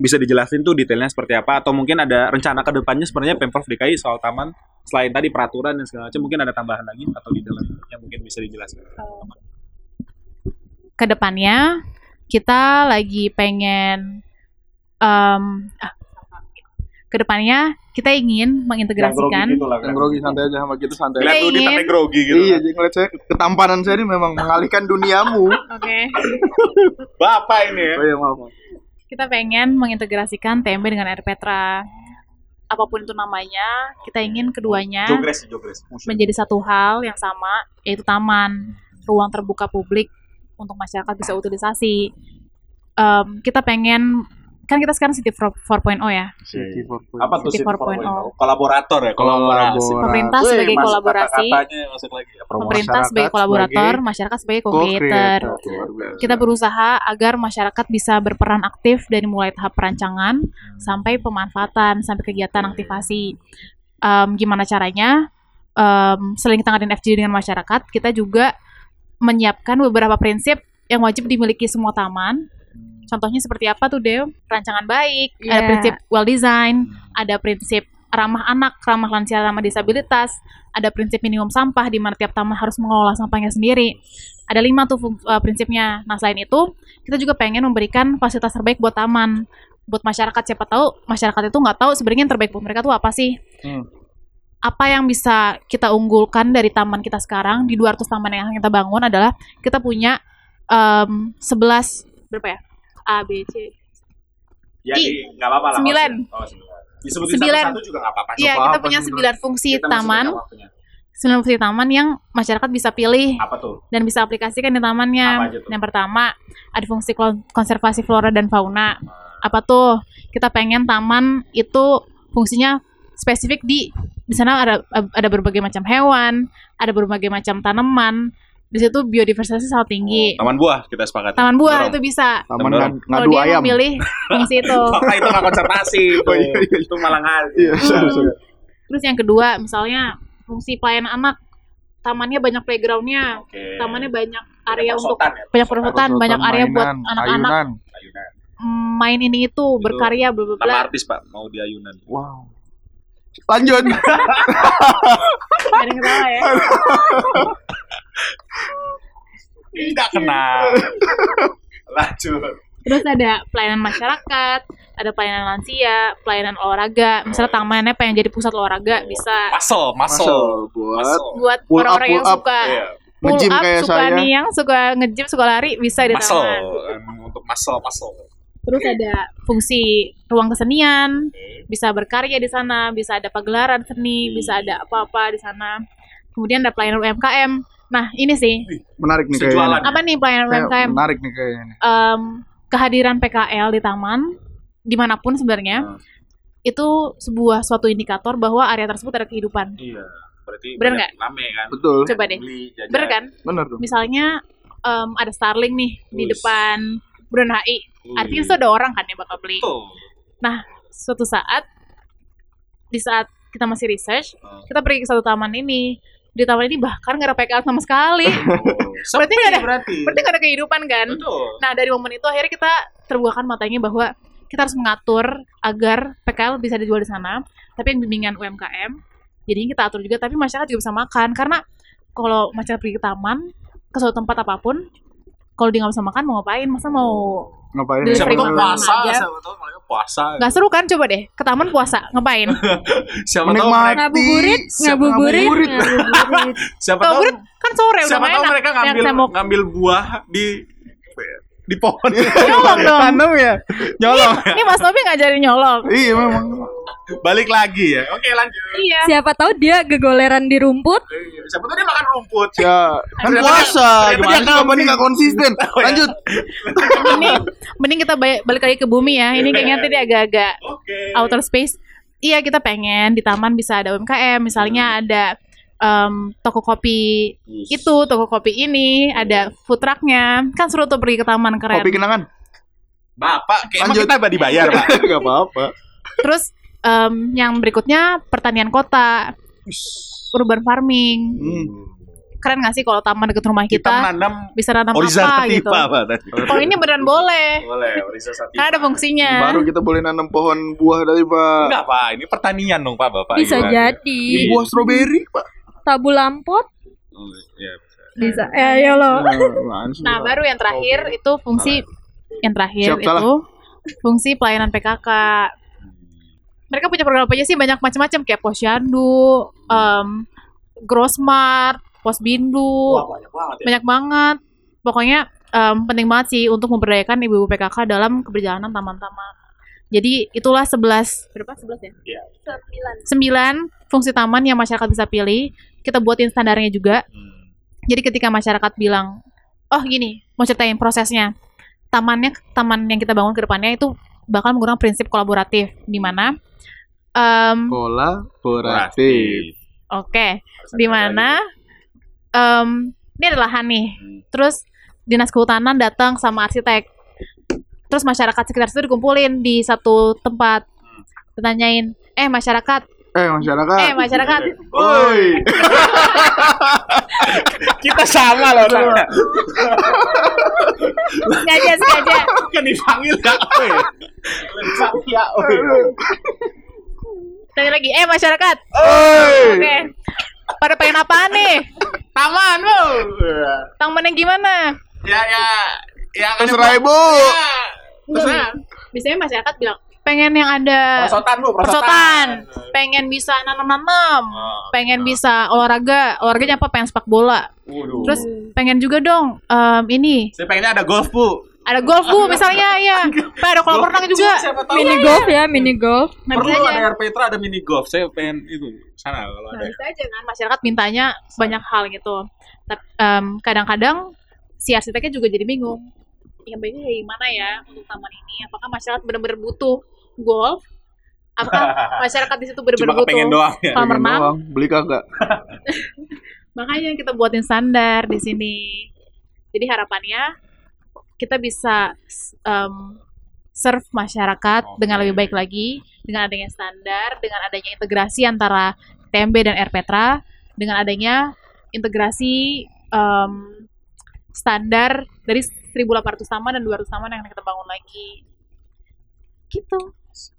[SPEAKER 4] bisa dijelasin tuh detailnya seperti apa atau mungkin ada rencana ke depannya sebenarnya Pemprov DKI soal taman selain tadi peraturan dan segala macam mungkin ada tambahan lagi atau di dalam yang mungkin bisa dijelaskan.
[SPEAKER 2] kedepannya kita lagi pengen em ah, kedepannya kita ingin mengintegrasikan
[SPEAKER 9] Yang grogi gitu santai aja sama gitu santai.
[SPEAKER 2] Kita
[SPEAKER 12] Lihat tuh dia
[SPEAKER 2] ingin-
[SPEAKER 12] sampai grogi gitu.
[SPEAKER 9] Iya, jadi ngeliat saya ketampanan saya ini memang mengalihkan duniamu.
[SPEAKER 2] oke
[SPEAKER 12] Bapak ini ya.
[SPEAKER 9] Oh iya maaf. maaf.
[SPEAKER 2] kita pengen mengintegrasikan TMB dengan Airpetra apapun itu namanya kita ingin keduanya
[SPEAKER 12] Jogres, jogres.
[SPEAKER 9] Iya,
[SPEAKER 2] menjadi satu hal yang sama yaitu taman ruang terbuka publik untuk masyarakat bisa utilisasi Em, kita pengen kan kita sekarang city 4.0 ya
[SPEAKER 9] City 4.0
[SPEAKER 4] Apa tuh
[SPEAKER 2] City oh.
[SPEAKER 4] City 4.0?
[SPEAKER 1] oh?
[SPEAKER 2] 4.0?
[SPEAKER 4] Kolaborator ya, kolaborasi.
[SPEAKER 9] Kolaborasi.
[SPEAKER 2] pemerintah
[SPEAKER 4] Wih,
[SPEAKER 2] sebagai
[SPEAKER 4] masuk
[SPEAKER 2] kolaborasi
[SPEAKER 4] Kata-katanya masuk lagi.
[SPEAKER 2] pemerintah
[SPEAKER 9] Masyarakat
[SPEAKER 2] sebagai kolaborator
[SPEAKER 9] sebagai
[SPEAKER 2] masyarakat sebagai co-creator kita berusaha agar masyarakat bisa berperan aktif dari mulai tahap perancangan sampai pemanfaatan sampai kegiatan aktivasi. Em, gimana caranya? Em, selain kita ngadain FGD dengan masyarakat, kita juga menyiapkan beberapa prinsip yang wajib dimiliki semua taman. Contohnya seperti apa tuh, Dew? Perancangan baik, ada
[SPEAKER 10] Iya.
[SPEAKER 2] prinsip well design, ada prinsip ramah anak, ramah lansia, ramah disabilitas, ada prinsip minimum sampah di mana tiap taman harus mengelola sampahnya sendiri. Ada lima tuh fung- eh, prinsipnya. Nah, selain itu, kita juga pengen memberikan fasilitas terbaik buat taman buat masyarakat siapa tahu masyarakat itu nggak tahu sebenarnya yang terbaik buat mereka tuh apa sih
[SPEAKER 4] Hmm.
[SPEAKER 2] apa yang bisa kita unggulkan dari taman kita sekarang di 200 taman yang akan kita bangun adalah kita punya em, 11 berapa ya A B C
[SPEAKER 1] Jadi Ya, nggak apa-apa lah.
[SPEAKER 2] Sembilan.
[SPEAKER 1] maksudnya. Oh, sembilan. Disebutin
[SPEAKER 2] Sembilan.
[SPEAKER 1] satu-satu juga nggak apa-apa.
[SPEAKER 2] Iya kita punya 9 fungsi
[SPEAKER 1] Kita masih
[SPEAKER 2] taman
[SPEAKER 1] banyak waktunya.
[SPEAKER 2] 9 fungsi taman yang masyarakat bisa pilih
[SPEAKER 1] Apa tuh?
[SPEAKER 2] dan bisa aplikasikan di
[SPEAKER 1] Apa
[SPEAKER 2] tamannya
[SPEAKER 1] aja tuh?
[SPEAKER 2] yang pertama ada fungsi klon- konservasi flora dan fauna apa tuh kita pengen taman itu fungsinya spesifik di di sana ada ada berbagai macam hewan ada berbagai macam tanaman di situ biodiversitasnya sangat
[SPEAKER 1] Oh,
[SPEAKER 2] tinggi
[SPEAKER 4] Taman buah kita sepakat.
[SPEAKER 2] Iya. taman buah
[SPEAKER 4] Dorong.
[SPEAKER 2] itu bisa
[SPEAKER 9] Taman
[SPEAKER 4] Dorong.
[SPEAKER 9] ngad-
[SPEAKER 2] kalau
[SPEAKER 9] ngadu
[SPEAKER 2] dia
[SPEAKER 9] ayam.
[SPEAKER 2] memilih fungsi itu
[SPEAKER 1] Apa Oh, itu nggak konservasi itu?
[SPEAKER 9] Oh, iya, iya.
[SPEAKER 1] Itu malah ngasih.
[SPEAKER 9] Iya,
[SPEAKER 2] Hmm,
[SPEAKER 9] sorry, sorry.
[SPEAKER 2] terus yang kedua misalnya fungsi pelayanan anak tamannya banyak playgroundnya
[SPEAKER 1] Oke.
[SPEAKER 2] Nah, tamannya banyak area untuk
[SPEAKER 1] Perosotan ya,
[SPEAKER 2] banyak
[SPEAKER 1] perosotan.
[SPEAKER 2] perosotan banyak area buat
[SPEAKER 9] Mainan,
[SPEAKER 2] anak-anak
[SPEAKER 9] ayunan.
[SPEAKER 1] Ayunan.
[SPEAKER 2] mm, main ini itu berkarya bla bla bla
[SPEAKER 4] Nama artis Pak, mau di ayunan.
[SPEAKER 9] Wow. Lanjut.
[SPEAKER 2] Gak ada yang ketawa ya
[SPEAKER 1] Tidak kena. Lanjut.
[SPEAKER 2] Terus ada pelayanan masyarakat, ada pelayanan lansia, pelayanan olahraga. Misalnya tamannya pengen jadi pusat olahraga bisa
[SPEAKER 1] Muscle, muscle.
[SPEAKER 9] Masuk buat
[SPEAKER 1] Muscle.
[SPEAKER 2] buat
[SPEAKER 9] Pull up,
[SPEAKER 2] orang-orang yang
[SPEAKER 9] pull up.
[SPEAKER 2] suka
[SPEAKER 1] Iya.
[SPEAKER 2] pull
[SPEAKER 9] Nge-gym
[SPEAKER 2] up,
[SPEAKER 9] kayak
[SPEAKER 2] suka
[SPEAKER 9] saya.
[SPEAKER 2] nih yang suka ngejim, suka lari bisa di
[SPEAKER 1] Muscle.
[SPEAKER 2] taman.
[SPEAKER 1] Em, Untuk muscle, muscle.
[SPEAKER 2] Terus ada fungsi ruang kesenian, bisa berkarya di sana, bisa ada pagelaran seni, bisa ada apa-apa di sana. Kemudian ada pelayanan UMKM. Nah, ini sih.
[SPEAKER 9] menarik nih
[SPEAKER 1] Sejualan.
[SPEAKER 9] kayaknya.
[SPEAKER 2] Apa nih pelayanan
[SPEAKER 9] Kayak
[SPEAKER 2] UMKM?
[SPEAKER 9] menarik nih kayaknya. nih.
[SPEAKER 2] Em, kehadiran PKL di taman dimanapun sebenarnya itu sebuah suatu indikator bahwa area tersebut ada kehidupan.
[SPEAKER 1] Iya. Berarti
[SPEAKER 2] Bener
[SPEAKER 1] banyak rame kan.
[SPEAKER 9] Betul.
[SPEAKER 2] Coba deh,
[SPEAKER 1] Beli jajan.
[SPEAKER 2] bener kan?
[SPEAKER 9] Bener dong.
[SPEAKER 2] Misalnya em, ada Starling nih di
[SPEAKER 1] Wih.
[SPEAKER 2] depan Brun HI, artinya
[SPEAKER 4] Hmm.
[SPEAKER 2] itu ada orang kan yang bakal beli.
[SPEAKER 1] Betul.
[SPEAKER 2] Suatu saat, di saat kita masih research, kita pergi ke satu taman ini. Di taman ini bahkan nggak ada PKL sama sekali. berarti nggak ada,
[SPEAKER 1] ya Berarti.
[SPEAKER 2] berarti nggak ada kehidupan kan?
[SPEAKER 1] Betul.
[SPEAKER 2] Nah dari momen itu akhirnya kita terbukakan matanya bahwa kita harus mengatur agar PKL bisa dijual di sana, tapi yang bimbingan UMKM, jadi kita atur juga, tapi masyarakat juga bisa makan karena kalau masyarakat pergi ke taman, ke suatu tempat apapun, kalau dia nggak bisa makan mau ngapain? Masa mau
[SPEAKER 9] Ngapain?
[SPEAKER 2] Delivery
[SPEAKER 1] Siapa
[SPEAKER 9] Siapa tahu
[SPEAKER 1] tahu
[SPEAKER 2] makanan
[SPEAKER 1] puasa,
[SPEAKER 2] aja.
[SPEAKER 1] siapa tahu mereka puasa.
[SPEAKER 2] nggak seru kan? Coba deh ke taman puasa ngapain?
[SPEAKER 1] Siapa tahu mereka,
[SPEAKER 9] Menikmati.
[SPEAKER 10] Ngabuburit,
[SPEAKER 9] Siapa
[SPEAKER 10] ngabuburit,
[SPEAKER 9] ngabuburit.
[SPEAKER 10] ngabuburit.
[SPEAKER 1] siapa
[SPEAKER 2] Tahu
[SPEAKER 1] tahu
[SPEAKER 2] kan kan sore udah
[SPEAKER 1] siapa
[SPEAKER 2] main
[SPEAKER 1] tahu
[SPEAKER 2] enak.
[SPEAKER 1] mereka
[SPEAKER 2] Yang
[SPEAKER 1] ngambil
[SPEAKER 2] saya mau
[SPEAKER 1] ngambil buah di di pohon.
[SPEAKER 2] nyolong dong.
[SPEAKER 9] Tanam ya.
[SPEAKER 1] Nyolong.
[SPEAKER 2] Ini Mas Novi ngajarin nyolong.
[SPEAKER 9] Iya memang.
[SPEAKER 1] Balik lagi ya. Oke, lanjut.
[SPEAKER 2] Iya.
[SPEAKER 10] Kan Siapa tahu dia gegoleran di rumput.
[SPEAKER 1] Iya, Siapa tahu dia makan rumput.
[SPEAKER 9] Ya, kan
[SPEAKER 1] Ternyata-
[SPEAKER 9] puasa.
[SPEAKER 1] ternyata
[SPEAKER 9] Gimana
[SPEAKER 1] dia
[SPEAKER 9] sih kamu nih
[SPEAKER 1] ngambing.
[SPEAKER 9] gak konsisten?
[SPEAKER 1] Oh, ya.
[SPEAKER 9] Lanjut.
[SPEAKER 2] Ini mending kita ba- balik lagi ke bumi ya. Ini kayaknya tadi agak-agak
[SPEAKER 1] Oke.
[SPEAKER 2] outer space iya kita pengen di taman bisa ada UMKM misalnya ada em, toko kopi itu toko kopi ini ada food trucknya kan seru tuh pergi ke taman keren
[SPEAKER 9] Kopi kenangan.
[SPEAKER 1] Bapak, kayak emang
[SPEAKER 9] Lanjut.
[SPEAKER 1] kita dibayar, Pak.
[SPEAKER 9] Gak apa-apa.
[SPEAKER 2] terus em, yang berikutnya pertanian kota urban farming
[SPEAKER 9] Hmm.
[SPEAKER 2] keren gak sih kalau taman deket rumah
[SPEAKER 4] Kita
[SPEAKER 2] kita,
[SPEAKER 4] menanam
[SPEAKER 2] bisa nanam
[SPEAKER 4] Oriza
[SPEAKER 2] apa gitu
[SPEAKER 4] Sativa Pak tadi.
[SPEAKER 2] kalau ini beneran boleh
[SPEAKER 1] Boleh, Risa Sativa.
[SPEAKER 2] karena ada fungsinya
[SPEAKER 9] Baru kita boleh nanam pohon buah dari Pak.
[SPEAKER 4] Enggak Pak, ini pertanian dong Pak Bapak.
[SPEAKER 10] Bisa
[SPEAKER 4] Iya.
[SPEAKER 10] jadi
[SPEAKER 9] Buah stroberi, Pak.
[SPEAKER 10] tabu lampot.
[SPEAKER 4] Oh, iya.
[SPEAKER 10] Bisa. Eh, ayo
[SPEAKER 2] Oh.
[SPEAKER 10] lo.
[SPEAKER 2] nah
[SPEAKER 9] Iya.
[SPEAKER 2] baru yang terakhir itu fungsi yang terakhir
[SPEAKER 9] Siap, salah.
[SPEAKER 2] itu fungsi pelayanan PKK mereka punya program apa aja sih banyak macam-macam kayak posyandu em Grossmart posbindu
[SPEAKER 1] Wah, banyak banget ya.
[SPEAKER 2] banyak banget pokoknya em, penting banget sih untuk memberdayakan ibu-ibu PKK dalam keberjalanan taman-taman jadi itulah 11 berapa 11 ya
[SPEAKER 1] Iya.
[SPEAKER 2] 9 fungsi taman yang masyarakat bisa pilih kita buatin standarnya juga
[SPEAKER 1] Hmm.
[SPEAKER 2] jadi ketika masyarakat bilang, oh gini, mau ceritain prosesnya. Tamannya, taman yang kita bangun ke depannya itu bakal menggunakan prinsip kolaboratif di mana em,
[SPEAKER 4] Kolaboratif.
[SPEAKER 2] oke di mana em, ini ada lahan nih terus dinas kehutanan datang sama arsitek terus masyarakat sekitar situ dikumpulin di satu tempat ditanyain eh masyarakat
[SPEAKER 9] Eh masyarakat.
[SPEAKER 2] eh masyarakat
[SPEAKER 9] Woi.
[SPEAKER 4] Kita sama loh. Tara.
[SPEAKER 2] sengaja sengaja
[SPEAKER 4] Kan dipanggil ya. weh. Dipanggil ya. weh.
[SPEAKER 2] tanya lagi eh masyarakat oke pada pengen apaan nih
[SPEAKER 4] Taman lo.
[SPEAKER 2] tamannya gimana
[SPEAKER 4] Ya ya ya
[SPEAKER 9] Terserah ibu.
[SPEAKER 2] Enggak, biasanya masyarakat bilang pengen yang ada
[SPEAKER 4] Persotan lo,
[SPEAKER 2] persotan, pengen bisa nanam-nanam, pengen bisa olahraga, olahraganya apa? Pengen sepak bola.
[SPEAKER 4] Waduh.
[SPEAKER 2] Terus pengen juga dong em, ini
[SPEAKER 4] Saya pengennya ada golf, Bu.
[SPEAKER 2] ada golf bu misalnya ya, Pak, ada kolam renang juga.
[SPEAKER 4] Siapa tahu
[SPEAKER 10] mini golf ya mini golf
[SPEAKER 2] Nah,
[SPEAKER 4] perlu
[SPEAKER 2] bisa aja.
[SPEAKER 4] ada air Petra, ada mini golf. Saya pengen itu sana kalau
[SPEAKER 2] Nah,
[SPEAKER 4] ada.
[SPEAKER 2] bisa aja kan masyarakat mintanya banyak hal gitu. Tapi em, kadang-kadang si arsiteknya juga jadi bingung. Yang baiknya kayak gimana ya untuk taman ini? Apakah masyarakat benar-benar butuh golf? Apakah masyarakat di situ
[SPEAKER 4] Cuma
[SPEAKER 2] benar-benar butuh
[SPEAKER 4] kepengen doang ya.
[SPEAKER 2] kolam renang?
[SPEAKER 9] Doang, Beli kagak?
[SPEAKER 2] Makanya kita buatin standar di sini. Jadi harapannya kita bisa s- em, serve masyarakat dengan lebih baik lagi dengan adanya standar, dengan adanya integrasi antara TMB dan RPTRA, dengan adanya integrasi em, standar dari 1.800 taman dan 200 taman yang akan kita bangun lagi. Gitu.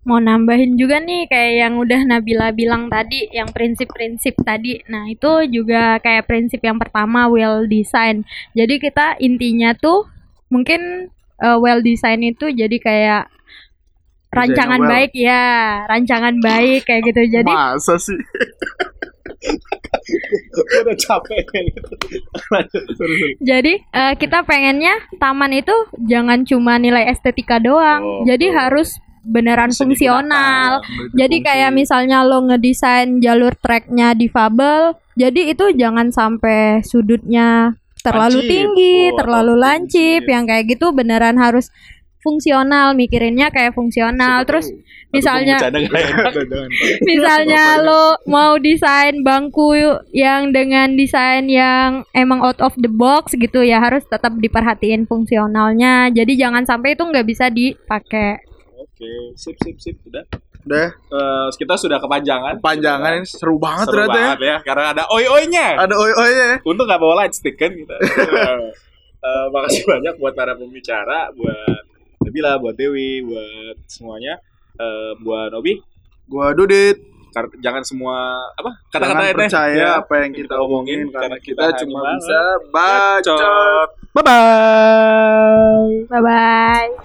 [SPEAKER 10] mau nambahin juga nih kayak yang udah Nabila bilang tadi yang prinsip-prinsip tadi nah itu juga kayak prinsip yang pertama well design jadi kita intinya tuh mungkin eh, well design itu jadi kayak rancangan
[SPEAKER 9] well.
[SPEAKER 10] baik ya rancangan baik kayak gitu jadi
[SPEAKER 9] Masa sih?
[SPEAKER 4] udah capek
[SPEAKER 10] Jadi eh, kita pengennya taman itu jangan cuma nilai estetika doang.
[SPEAKER 4] Oh,
[SPEAKER 10] jadi
[SPEAKER 4] betul.
[SPEAKER 10] harus beneran
[SPEAKER 4] Bisa
[SPEAKER 10] fungsional.
[SPEAKER 9] Memiliki
[SPEAKER 10] Jadi
[SPEAKER 9] fungsi.
[SPEAKER 10] kayak misalnya lo ngedesain jalur treknya difabel, jadi itu jangan sampai sudutnya terlalu
[SPEAKER 4] Lancip.
[SPEAKER 10] tinggi,
[SPEAKER 4] Oh,
[SPEAKER 10] terlalu
[SPEAKER 4] terlalu
[SPEAKER 10] lancip,
[SPEAKER 4] tinggi.
[SPEAKER 10] yang kayak gitu beneran harus fungsional mikirinnya kayak fungsional. Nah, Terus misalnya
[SPEAKER 9] ya?
[SPEAKER 4] ya?
[SPEAKER 10] misalnya lo mau desain bangku yang dengan desain yang emang out of the box gitu ya harus tetap diperhatiin fungsionalnya jadi jangan sampai itu nggak bisa dipakai
[SPEAKER 4] Oke, sip sip sip udah.
[SPEAKER 9] Udah. ya?
[SPEAKER 4] Eh, kita sudah kepanjangan.
[SPEAKER 9] Panjangan ini seru banget
[SPEAKER 4] Seru
[SPEAKER 9] ternyata ya.
[SPEAKER 4] banget ya. karena ada oi-oinya.
[SPEAKER 9] Ada oi oi ya.
[SPEAKER 4] Untung nggak bawa light stick kan kita. Eh, eh, makasih banyak buat para pembicara, buat Nabila, buat Dewi, buat semuanya, Eh, buat Nobi.
[SPEAKER 9] Gua Dudit.
[SPEAKER 4] Kar- jangan semua apa
[SPEAKER 9] Jangan
[SPEAKER 4] kata-kata ya,
[SPEAKER 9] percaya apa yang kita omongin karena kita
[SPEAKER 4] hanya
[SPEAKER 9] cuma
[SPEAKER 4] malas.
[SPEAKER 9] bisa bacot.
[SPEAKER 4] Bacot. Bye bye.
[SPEAKER 10] bye bye